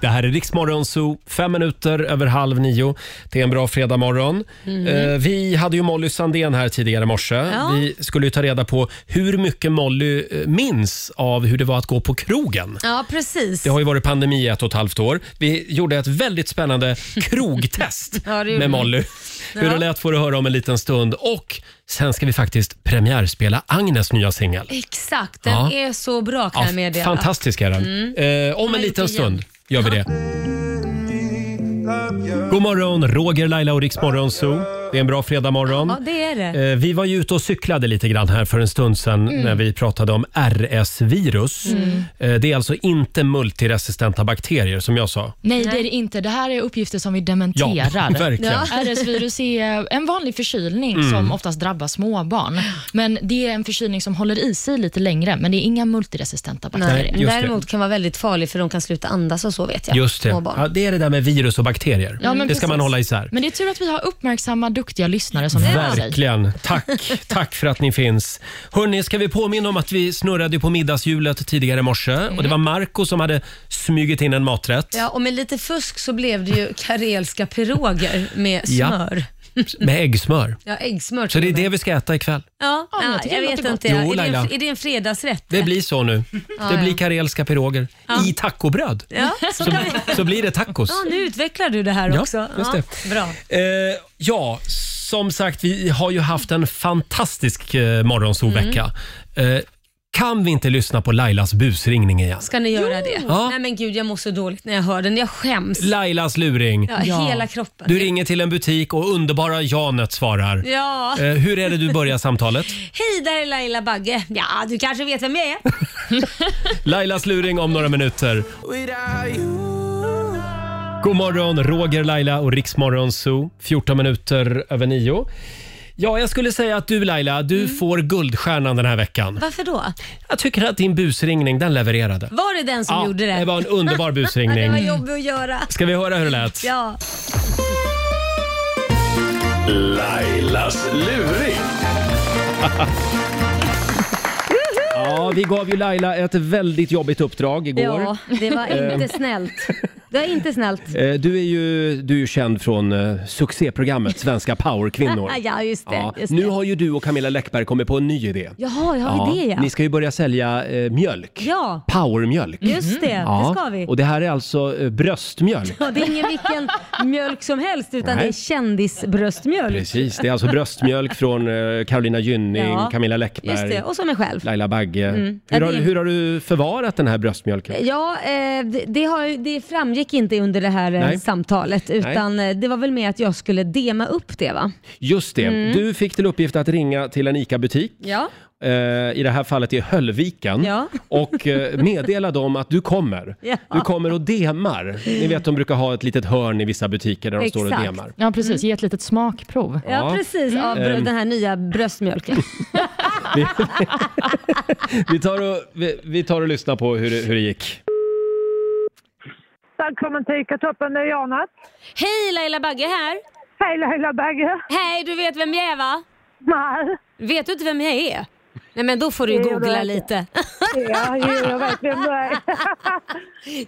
A: Det här är Riksmorgon Zoo, fem minuter över halv nio. Det är en bra fredagmorgon.
H: Mm.
A: Eh, vi hade ju Molly Sandén här tidigare i morse.
H: Ja.
A: Vi skulle ju ta reda på hur mycket Molly eh, minns av hur det var att gå på krogen.
C: Ja, precis.
A: Det har ju varit pandemi i ett och ett halvt år. Vi gjorde ett väldigt spännande krogtest
C: Ja, det gjorde
A: med
C: vi.
A: Molly. Hur det
C: Mm. Ja.
A: lät får du höra om en liten stund. Och sen ska vi faktiskt premiärspela Agnes nya singel.
C: Exakt, den
A: Ja.
C: är så bra kan jag Mm. meddela.
A: fantastisk är den. Eh, om
C: Man
A: en
C: har
A: liten
C: gjort det igen.
A: stund gör vi det. God morgon, Roger, Laila och Riksmorgon Zoo. Det är en bra fredagmorgon.
C: Ja, det är det.
A: Eh, Vi var ju ute och cyklade lite grann här för en stund sedan
C: Mm.
A: när vi pratade om RS-virus.
D: Mm.
A: Eh, Det är alltså inte multiresistenta bakterier som jag sa.
D: Nej, det är det inte. Det här är uppgifter som vi dementerar.
A: Ja, verkligen. Ja.
D: RS-virus är en vanlig förkylning
A: Mm.
D: som oftast drabbar småbarn. Men Det är en förkylning som håller i sig lite längre, men det är inga multiresistenta bakterier.
A: Nej, just det.
C: Däremot kan vara väldigt farlig för de kan sluta andas och så vet jag.
A: Just det.
C: Små barn.
A: Ja, det är det där med virus och bakterier.
D: Ja, men
A: det ska
D: precis.
A: man hålla isär.
D: Men det är tur att vi har uppmärksamma, duktiga lyssnare som hör sig.
A: Verkligen. Tack, tack för att ni finns. Hörni, ska vi påminna om att vi snurrade ju på middagshjulet tidigare i morse och det
C: Mm.
A: var Marco som hade smugit in en maträtt.
C: Ja, och med lite fusk så blev det ju karelska piroger med
A: Ja.
C: smör.
A: Med äggsmör.
C: Ja, äggsmör
A: Så det är
C: till och med.
A: det vi ska äta ikväll.
C: Ja,
D: men jag
C: ja,
D: tycker
C: jag
D: det
C: vet
D: låter
C: inte.
A: gott. Jo,
C: är, det
A: Laila.
C: en, är det en fredagsrätt?
A: Det blir så nu.
C: Ja,
A: det
C: ja.
A: blir karelska piroger i tacobröd.
C: Ja, så, kan vi-
A: Så blir det tacos.
C: ja, nu utvecklar du det här
A: Ja,
C: också.
A: just det.
C: Ja, bra.
A: Eh, ja, som sagt, vi har ju haft en fantastisk eh, morgonsolvecka.
C: Mm.
A: Eh, kan vi inte lyssna på Lailas busringning igen?
C: Ska ni göra det?
A: Ja.
C: Nej men gud, jag mår så dåligt när jag hör den. Jag skäms.
A: Lailas luring.
C: Ja, Ja. hela kroppen.
A: Du ringer till en butik och underbara Janet svarar.
C: Ja.
A: Eh, hur är det du börjar samtalet?
C: Hej, där är Laila Bagge. Ja, du kanske vet vem jag är?
A: Lailas luring om några minuter. God morgon, Roger, Laila och Riksmorgon Zoo. 14 minuter över nio. Ja, jag skulle säga att du Laila, du
C: Mm.
A: får Guldstjärnan den här veckan.
C: Varför då?
A: Jag tycker att din busringning, den levererade.
C: Var det den som
A: Ja,
C: gjorde det?
A: det var en underbar busringning.
C: det var jobbigt att göra.
A: Ska vi höra hur det lät?
C: Ja.
E: Lailas luring.
A: Ja, vi gav ju Laila ett väldigt jobbigt uppdrag igår.
C: Ja, det var
A: Eh,
C: inte snällt. Det är inte snällt.
A: Eh, Du är ju, du är ju känd från eh, succéprogrammet Svenska powerkvinnor.
C: ja, just det.
A: Ja,
C: Just det.
A: nu har ju du och Camilla Läckberg kommit på en ny idé.
C: Jaha, har vi det ja.
A: Ni ska ju börja sälja eh, mjölk.
C: Ja,
A: Powermjölk.
C: Just det, det
A: Mhm. Ja,
C: ska vi.
A: Och det här är alltså eh, bröstmjölk.
C: ja, det är ingen vilken mjölk som helst utan
A: Nej.
C: det är kändisbröstmjölk.
A: Precis, det är alltså bröstmjölk från eh, Carolina Gynning,
C: Ja,
A: Camilla Läckberg,
C: Just det, och som mig själv.
A: Laila Bagge.
C: Mm.
A: Hur,
C: Ja,
A: har,
C: det-
A: hur har du förvarat den här bröstmjölken?
C: Ja, eh, det, det, har, det framgick inte under det här eh,
A: Nej.
C: samtalet utan eh, det var väl mer att jag skulle dema upp det va?
A: Just det,
C: Mm.
A: du fick till uppgift att ringa till en ICA-butik.
C: Ja.
A: eh, I det här fallet i Höllviken och eh, meddela dem att du kommer.
C: Ja.
A: Du kommer och demar. Ni vet de brukar ha ett litet hörn i vissa butiker där de står och demar.
D: Ja, precis. Ge ett litet smakprov.
A: Ja, Ja. precis, av Mm. brö- den
C: här nya bröstmjölken.
A: Vi tar och, vi, vi tar och lyssnar på hur det, hur det gick.
R: Välkommen till ICA-toppen, det är Janet.
C: Hej Laila Bagge här.
R: Hej Laila Bagge.
C: Hej, du vet vem jag är va?
R: Nej.
C: Vet du inte vem jag är? Nej men då får du ju
R: Jo, det vet
C: googla
R: jag.
C: lite.
R: Ja, jo, jag vet vem du är.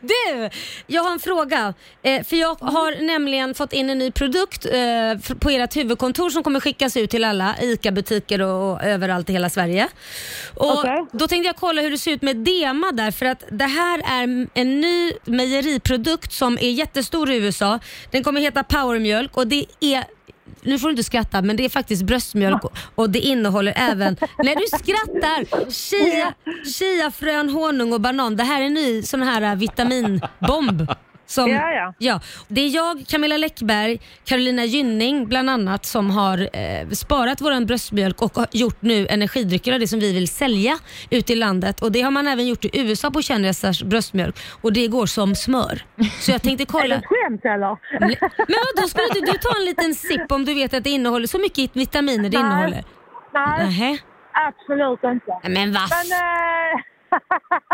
C: Du, jag har en fråga. Eh, för jag har nämligen fått in en ny produkt eh, f- på ert huvudkontor som kommer skickas ut till alla ICA-butiker och, och överallt i hela Sverige. Och Då tänkte jag kolla hur det ser ut med DEMA där för att det här är m- en ny mejeriprodukt som är jättestor i USA. Den kommer heta Powermjölk och det är nu får du inte skratta men det är faktiskt bröstmjölk och- och det innehåller även, när du skrattar, chia, chiafrön, honung och banan. Det här är en ny sån här eh, vitaminbomb. Som,
R: Ja, ja.
C: Det är jag, Camilla Läckberg, Carolina Gynning bland annat som har eh, sparat våran bröstmjölk och har gjort nu energidrycker av det som vi vill sälja ut i landet. Och Det har man även gjort i USA på kändisars bröstmjölk och det går som smör. Så jag tänkte kolla.
R: Är det ett skämt eller?
C: Men vadå, skulle inte du ta en liten sipp om du vet att det innehåller så mycket vitaminer det
R: Nej.
C: innehåller?
R: Nej,
C: Nähä.
R: absolut inte.
C: Men vad?
R: Men, eh,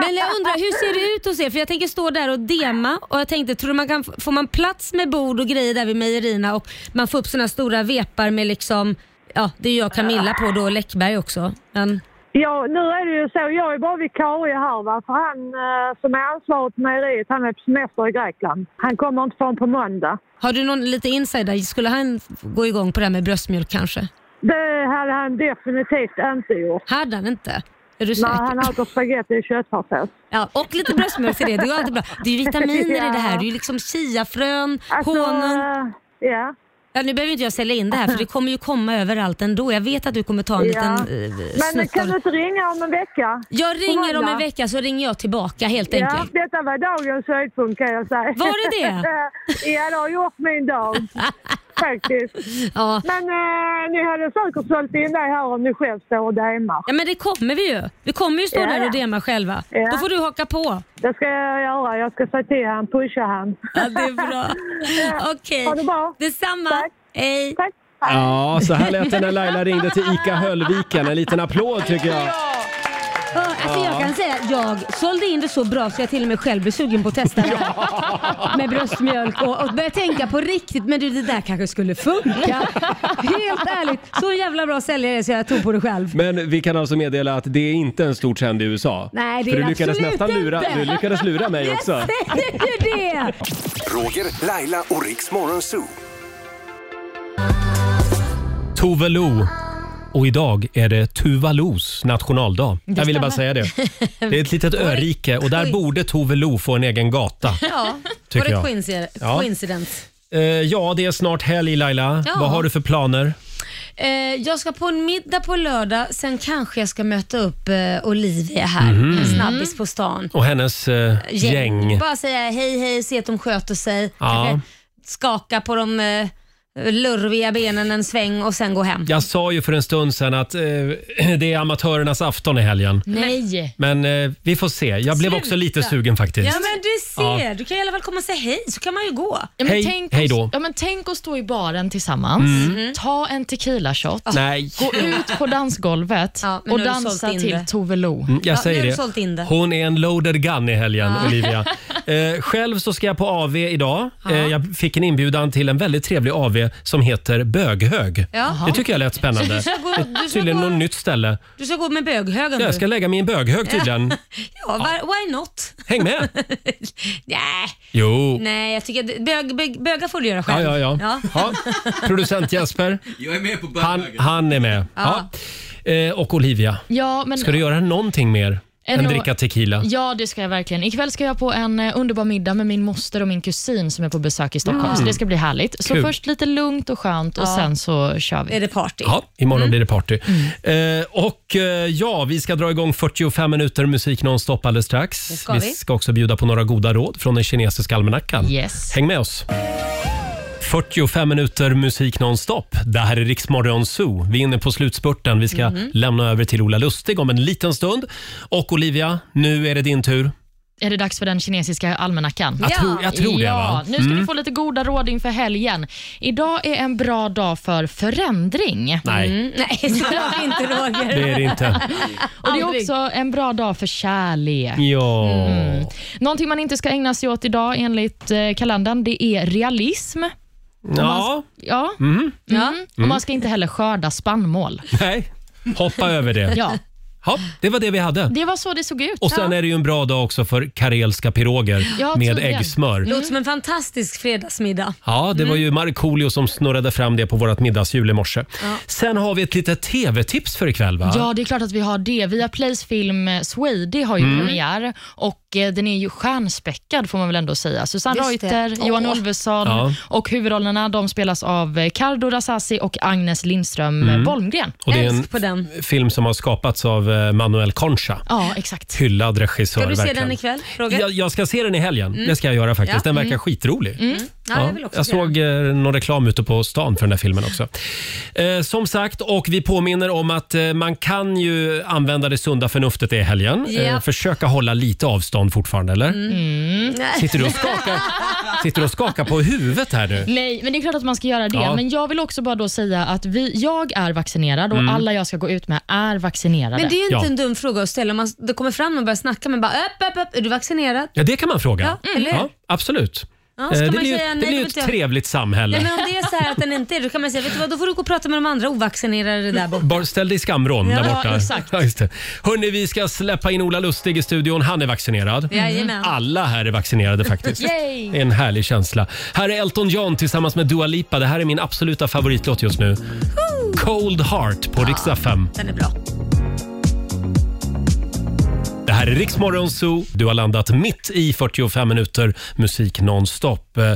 C: Men jag undrar, hur ser det ut hos er? För jag tänker stå där och dema och jag tänkte, tror du man kan, får man plats med bord och grejer där vid mejerierna och man får upp såna stora vepar med liksom, ja det är jag och Camilla på då och Läckberg också. Men,
R: ja, nu är det ju så, jag är bara vikarie här va, för han eh, som är ansvarig på mejeriet, han är på semester i Grekland. Han kommer inte förrän på måndag.
C: har du någon lite insider? Skulle han gå igång på det här med bröstmjölk kanske?
R: Det hade han definitivt inte gjort.
C: Hade han inte? Är du
R: Nej,
C: säker?
R: han äter spagetti i köttfärssås.
C: Ja, och lite bröstmjölk till det, det är ju alltid bra. Det är ju vitaminer i det här, det är ju liksom chiafrön, honung.
R: Ja.
C: Ja, nu behöver inte jag sälja in det här för det kommer ju komma överallt ändå. Jag vet att du kommer ta en liten eh,
R: Men
C: snutt
R: kan
C: av
R: du
C: det.
R: inte ringa om en vecka?
C: Jag ringer om en
R: Amanda?
C: vecka så ringer jag tillbaka helt
R: Ja,
C: enkelt.
R: detta var dagens höjdpunkt kan jag säga.
C: Var det det?
R: ja, det har gjort min dag. Faktiskt. Men eh, ni hade säkert sålt in dig här om ni själv står och demar.
C: Ja men det kommer vi ju. Vi kommer ju stå
R: Ja,
C: där och
R: ja.
C: dema själva.
R: Ja.
C: Då får du haka på.
R: Det ska jag göra. Jag ska säga till han, pusha han.
C: Ja, det är bra. Okej.
R: Ha det bra.
C: Detsamma. Hej.
A: Ja, så här lät det när Laila ringde till ICA Höllviken. En liten applåd tycker jag.
C: Ja, Alltså jag
A: Ja.
C: kan säga, jag sålde in det så bra så jag till och med själv blev sugen på att testa det här. Med bröstmjölk och, och började tänka på riktigt, men du det där kanske skulle funka. Helt ärligt, så jävla bra säljare så jag tog på det själv.
A: Men vi kan alltså meddela att det är inte en stor trend i USA.
C: Nej, det
A: För
C: är
A: du lyckades
C: absolut
A: nästan lura,
C: inte.
A: Du lyckades lura mig också.
C: Säger du det?
H: Roger, Laila och Riks Morgonzoo.
A: Tove Lo. Och idag är det Tuvalos nationaldag. Jag ville bara säga det. Det är ett litet örike och där borde Tove Lo få en egen gata.
C: Ja,
A: Tycker
C: var
A: jag.
C: det coincidence?
A: Ja.
C: coincidence?
A: Eh, Ja, det är snart helg Laila.
C: Ja.
A: Vad har du för planer?
C: Eh, jag ska på en middag på lördag, sen kanske jag ska möta upp eh, Olivia här,
A: Mhm.
C: en snabbis på stan.
A: Och hennes eh, gäng.
C: Bara säga hej hej, se att de sköter sig.
A: Ja.
C: Skaka på de eh, lurviga benen en sväng och sen gå hem.
A: Jag sa ju för en stund sedan att eh, det är amatörernas afton i helgen.
C: Nej.
A: Men eh, vi får se. Jag blev också lite sugen faktiskt.
C: Ja men du ser,
A: Ja.
C: du kan i alla fall komma och säga hej så kan man ju gå.
D: Ja, men
A: Hej-
D: tänk
A: hej
D: oss-
A: då.
D: Ja, men tänk att stå i baren tillsammans,
A: Mm. Ah.
D: ta en tequila shot,
A: Nej.
D: gå ut på dansgolvet
C: men
D: och
C: nu har du sålt
D: dansa
C: in
D: till
C: det.
D: Tove Lo.
A: Mm, Jag säger
C: in
A: det.
C: det.
A: Hon är en loaded gun i helgen,
C: Ja.
A: Olivia. Eh, själv så ska jag på AV idag. Eh, jag fick en inbjudan till en väldigt trevlig AV ställe som heter Böghög.
C: Jaha.
A: Det tycker jag lät spännande.
C: Så du ska gå-
A: Det är
C: du ska
A: tydligen
C: gå-
A: något nytt ställe.
C: Du ska gå med böghögen
A: Jag
C: nu.
A: ska lägga mig i en böghög tydligen.
C: Ja, var, why not?
A: Häng med!
C: Nej,
A: Jo.
C: nej jag tycker att bög, bög, bögar får du göra
A: Ja,
C: själv.
A: ja, ja. Ja, Producent Jesper.
G: Jag är med på
A: Han, han är med. Ja. Eh, och Olivia.
D: Ja, men-
A: Ska du göra någonting mer
D: Än
A: än
D: att-
A: dricka tequila?
D: Ja, det ska jag verkligen. Ikväll ska jag på en eh, underbar middag med min moster och min kusin som är på besök i Stockholm,
A: Mm.
D: så det ska bli härligt. Så
A: Kul.
D: först lite lugnt och skönt och
A: Ja.
D: sen så kör vi.
C: Är det party?
A: Ja, imorgon
D: Mm.
A: blir det party. Eh, och eh, ja, vi ska dra igång 45 minuter musik nonstop alldeles strax.
D: Det ska vi.
A: ska också bjuda på några goda råd från den kinesiska almanackan.
D: Yes.
A: Häng med oss. 45 minuter musik nonstop. Det här är Riksmorgon Zoo. Vi är inne på slutspurten. Vi ska
D: Mhm.
A: lämna över till Ola Lustig om en liten stund. Och Olivia, nu är det din tur.
D: Är det dags för den kinesiska almanackan?
A: Jag tror- jag tror det,
D: ja.
A: va?
D: Nu ska
A: Mm.
D: du få lite goda råd inför helgen. Idag är en bra dag för förändring.
A: Nej.
C: Mm, nej, såklart inte Roger.
A: Det är det inte.
D: Och det är också en bra dag för kärlek.
A: Ja.
D: Mm. Någonting man inte ska ägna sig åt idag enligt eh, kalendern, det är realism. Och
A: Ja.
D: Man, ja.
A: Mm.
D: Mm. Och man ska inte heller skörda spannmål.
A: Nej, hoppa över det.
D: Ja.
A: Ja, det var det vi hade.
D: Det var så det såg ut.
A: Mm. Och sen är det ju en bra dag också för karelska piroger
C: Ja,
A: med
C: tydligen.
A: äggsmör.
C: Låter som en fantastisk fredagsmiddag.
A: Ja, det var
C: Mm.
A: ju Markoolio som snurrade fram det på vårt middagshjul i morse. Sen har vi ett litet tv-tips för ikväll va?
D: Ja, det är klart att vi har det. Via Plays film eh, Swede har ju
A: Mm.
D: premiär och eh, den är ju stjärnspäckad får man väl ändå säga. Susanne
M: Visst det.
D: Reuter,
M: Åh.
D: Johan Ulveson
A: Ja.
D: och huvudrollerna de spelas av eh, Cardo Rassasi och Agnes Lindström
A: Mm.
D: mm. Bolmgren.
A: Och det är en f- film som har skapats av eh, Manuel Concha.
D: Ja, exakt.
A: Hyllad regissör
C: Ska du se
A: verkligen.
C: den ikväll, Roger?
A: Jag, jag ska se den i helgen.
C: Mm.
A: Det ska jag göra faktiskt.
C: Ja.
A: Den verkar
C: Mm.
A: skitrolig.
C: Mm. Ja, jag vill också se den.
A: såg eh, någon reklam ute på stan för den här filmen också. Eh, som sagt, och vi påminner om att eh, man kan ju använda det sunda förnuftet i helgen.
C: Ja.
A: Eh, försöka hålla lite avstånd fortfarande, eller? Mm.
D: Mm.
A: Sitter du och skakar? Sitter du och skakar på huvudet här nu?
D: Nej, men det är klart att man ska göra det.
A: Ja.
D: Men jag vill också bara då säga att vi, jag är vaccinerad och
A: Mm.
D: alla jag ska gå ut med är vaccinerade.
C: Men det är ju inte
A: Ja.
C: en dum fråga att ställa. Man, det kommer fram och börjar snacka men bara upp, upp, upp. Är du vaccinerad?
A: Ja, det kan man fråga.
C: Ja, eller hur?
A: absolut.
C: Ja,
A: Eh,
C: ska
A: det
C: man
A: blir ju,
C: säga nej,
A: det blir
C: då
A: ju
C: vet
A: ett
C: jag.
A: trevligt samhälle.
C: Nej, men om det är så här att den inte är då kan man säga vet du vad, då får du gå och prata med de andra ovaccinerade där borta.
A: Bara ställ dig i skamvrån där
C: Ja,
A: borta.
C: exakt.
A: Ja, just det. Hörrni, vi ska släppa in Ola Lustig i studion. Han är vaccinerad.
C: Jajamän.
A: Alla här är vaccinerade faktiskt.
C: Yay.
A: Det är en härlig känsla. Här är Elton John tillsammans med Dua Lipa. Det här är min absoluta favoritlåt just nu. Cold Heart på riksdag 5.
C: Den är bra.
A: Det här är Riksmorgon Zoo. Du har landat mitt i 45 minuter musik nonstop. Eh,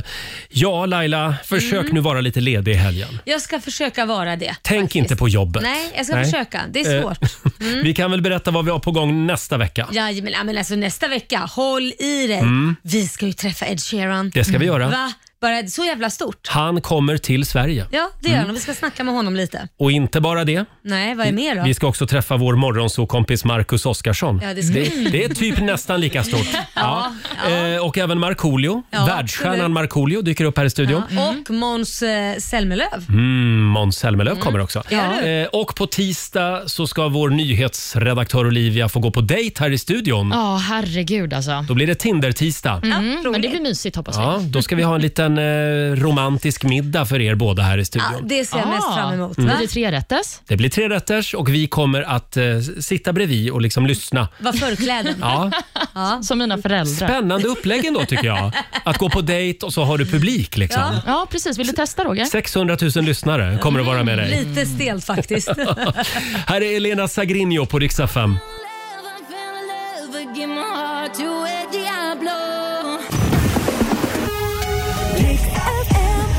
A: Ja, Laila, försök
C: Mm.
A: nu vara lite ledig i helgen.
C: Jag ska försöka vara det.
A: Tänk inte på jobbet.
C: Nej, jag ska försöka. Det är
A: Eh,
C: svårt. Mm.
A: Vi kan väl berätta vad vi har på gång nästa vecka.
C: Ja, men, ja, men alltså nästa vecka, håll i dig.
A: Mm.
C: Vi ska ju träffa Ed Sheeran.
A: Det ska vi göra.
C: Va? Bara så jävla stort.
A: Han kommer till Sverige.
C: Ja, det gör han och vi ska snacka med honom lite.
A: Och inte bara det.
C: Nej, vad är mer då?
A: Mm. Vi ska också träffa vår morgonsåkompis Marcus Oskarsson.
C: Ja, det ska vi.
A: det, det är typ nästan lika stort.
C: Ja,
A: Eh, och även Markoolio.
C: Ja,
A: Världsstjärnan
C: absolut.
A: Markoolio dyker upp här i studion.
C: Ja, Och Måns eh, Zelmerlöw.
A: Mm, Måns Zelmerlöw kommer också.
C: Ja.
A: Eh, och på tisdag så ska vår nyhetsredaktör Olivia få gå på dejt här i studion.
D: Ja, herregud alltså.
A: Då blir det Tinder-tisdag.
D: Mm, men det blir mysigt hoppas vi.
A: Ja, då ska vi ha en liten eh, romantisk middag för er båda här i studion.
C: det ser jag mest
D: Ah.
C: fram emot,
A: Mm.
D: Blir det trerätters?
A: Det blir tre rätters och vi kommer att eh, sitta bredvid och liksom lyssna.
C: Var förkläden.
A: Ja.
D: Som mina föräldrar.
A: Spännande upplägg ändå tycker jag. Att gå på dejt och så har du publik liksom.
D: Ja. ja, precis. Vill du testa Roger?
A: 600 000 lyssnare kommer att vara med dig.
C: Lite stelt faktiskt.
A: Här är Elena Sagrinho på riksdag 5.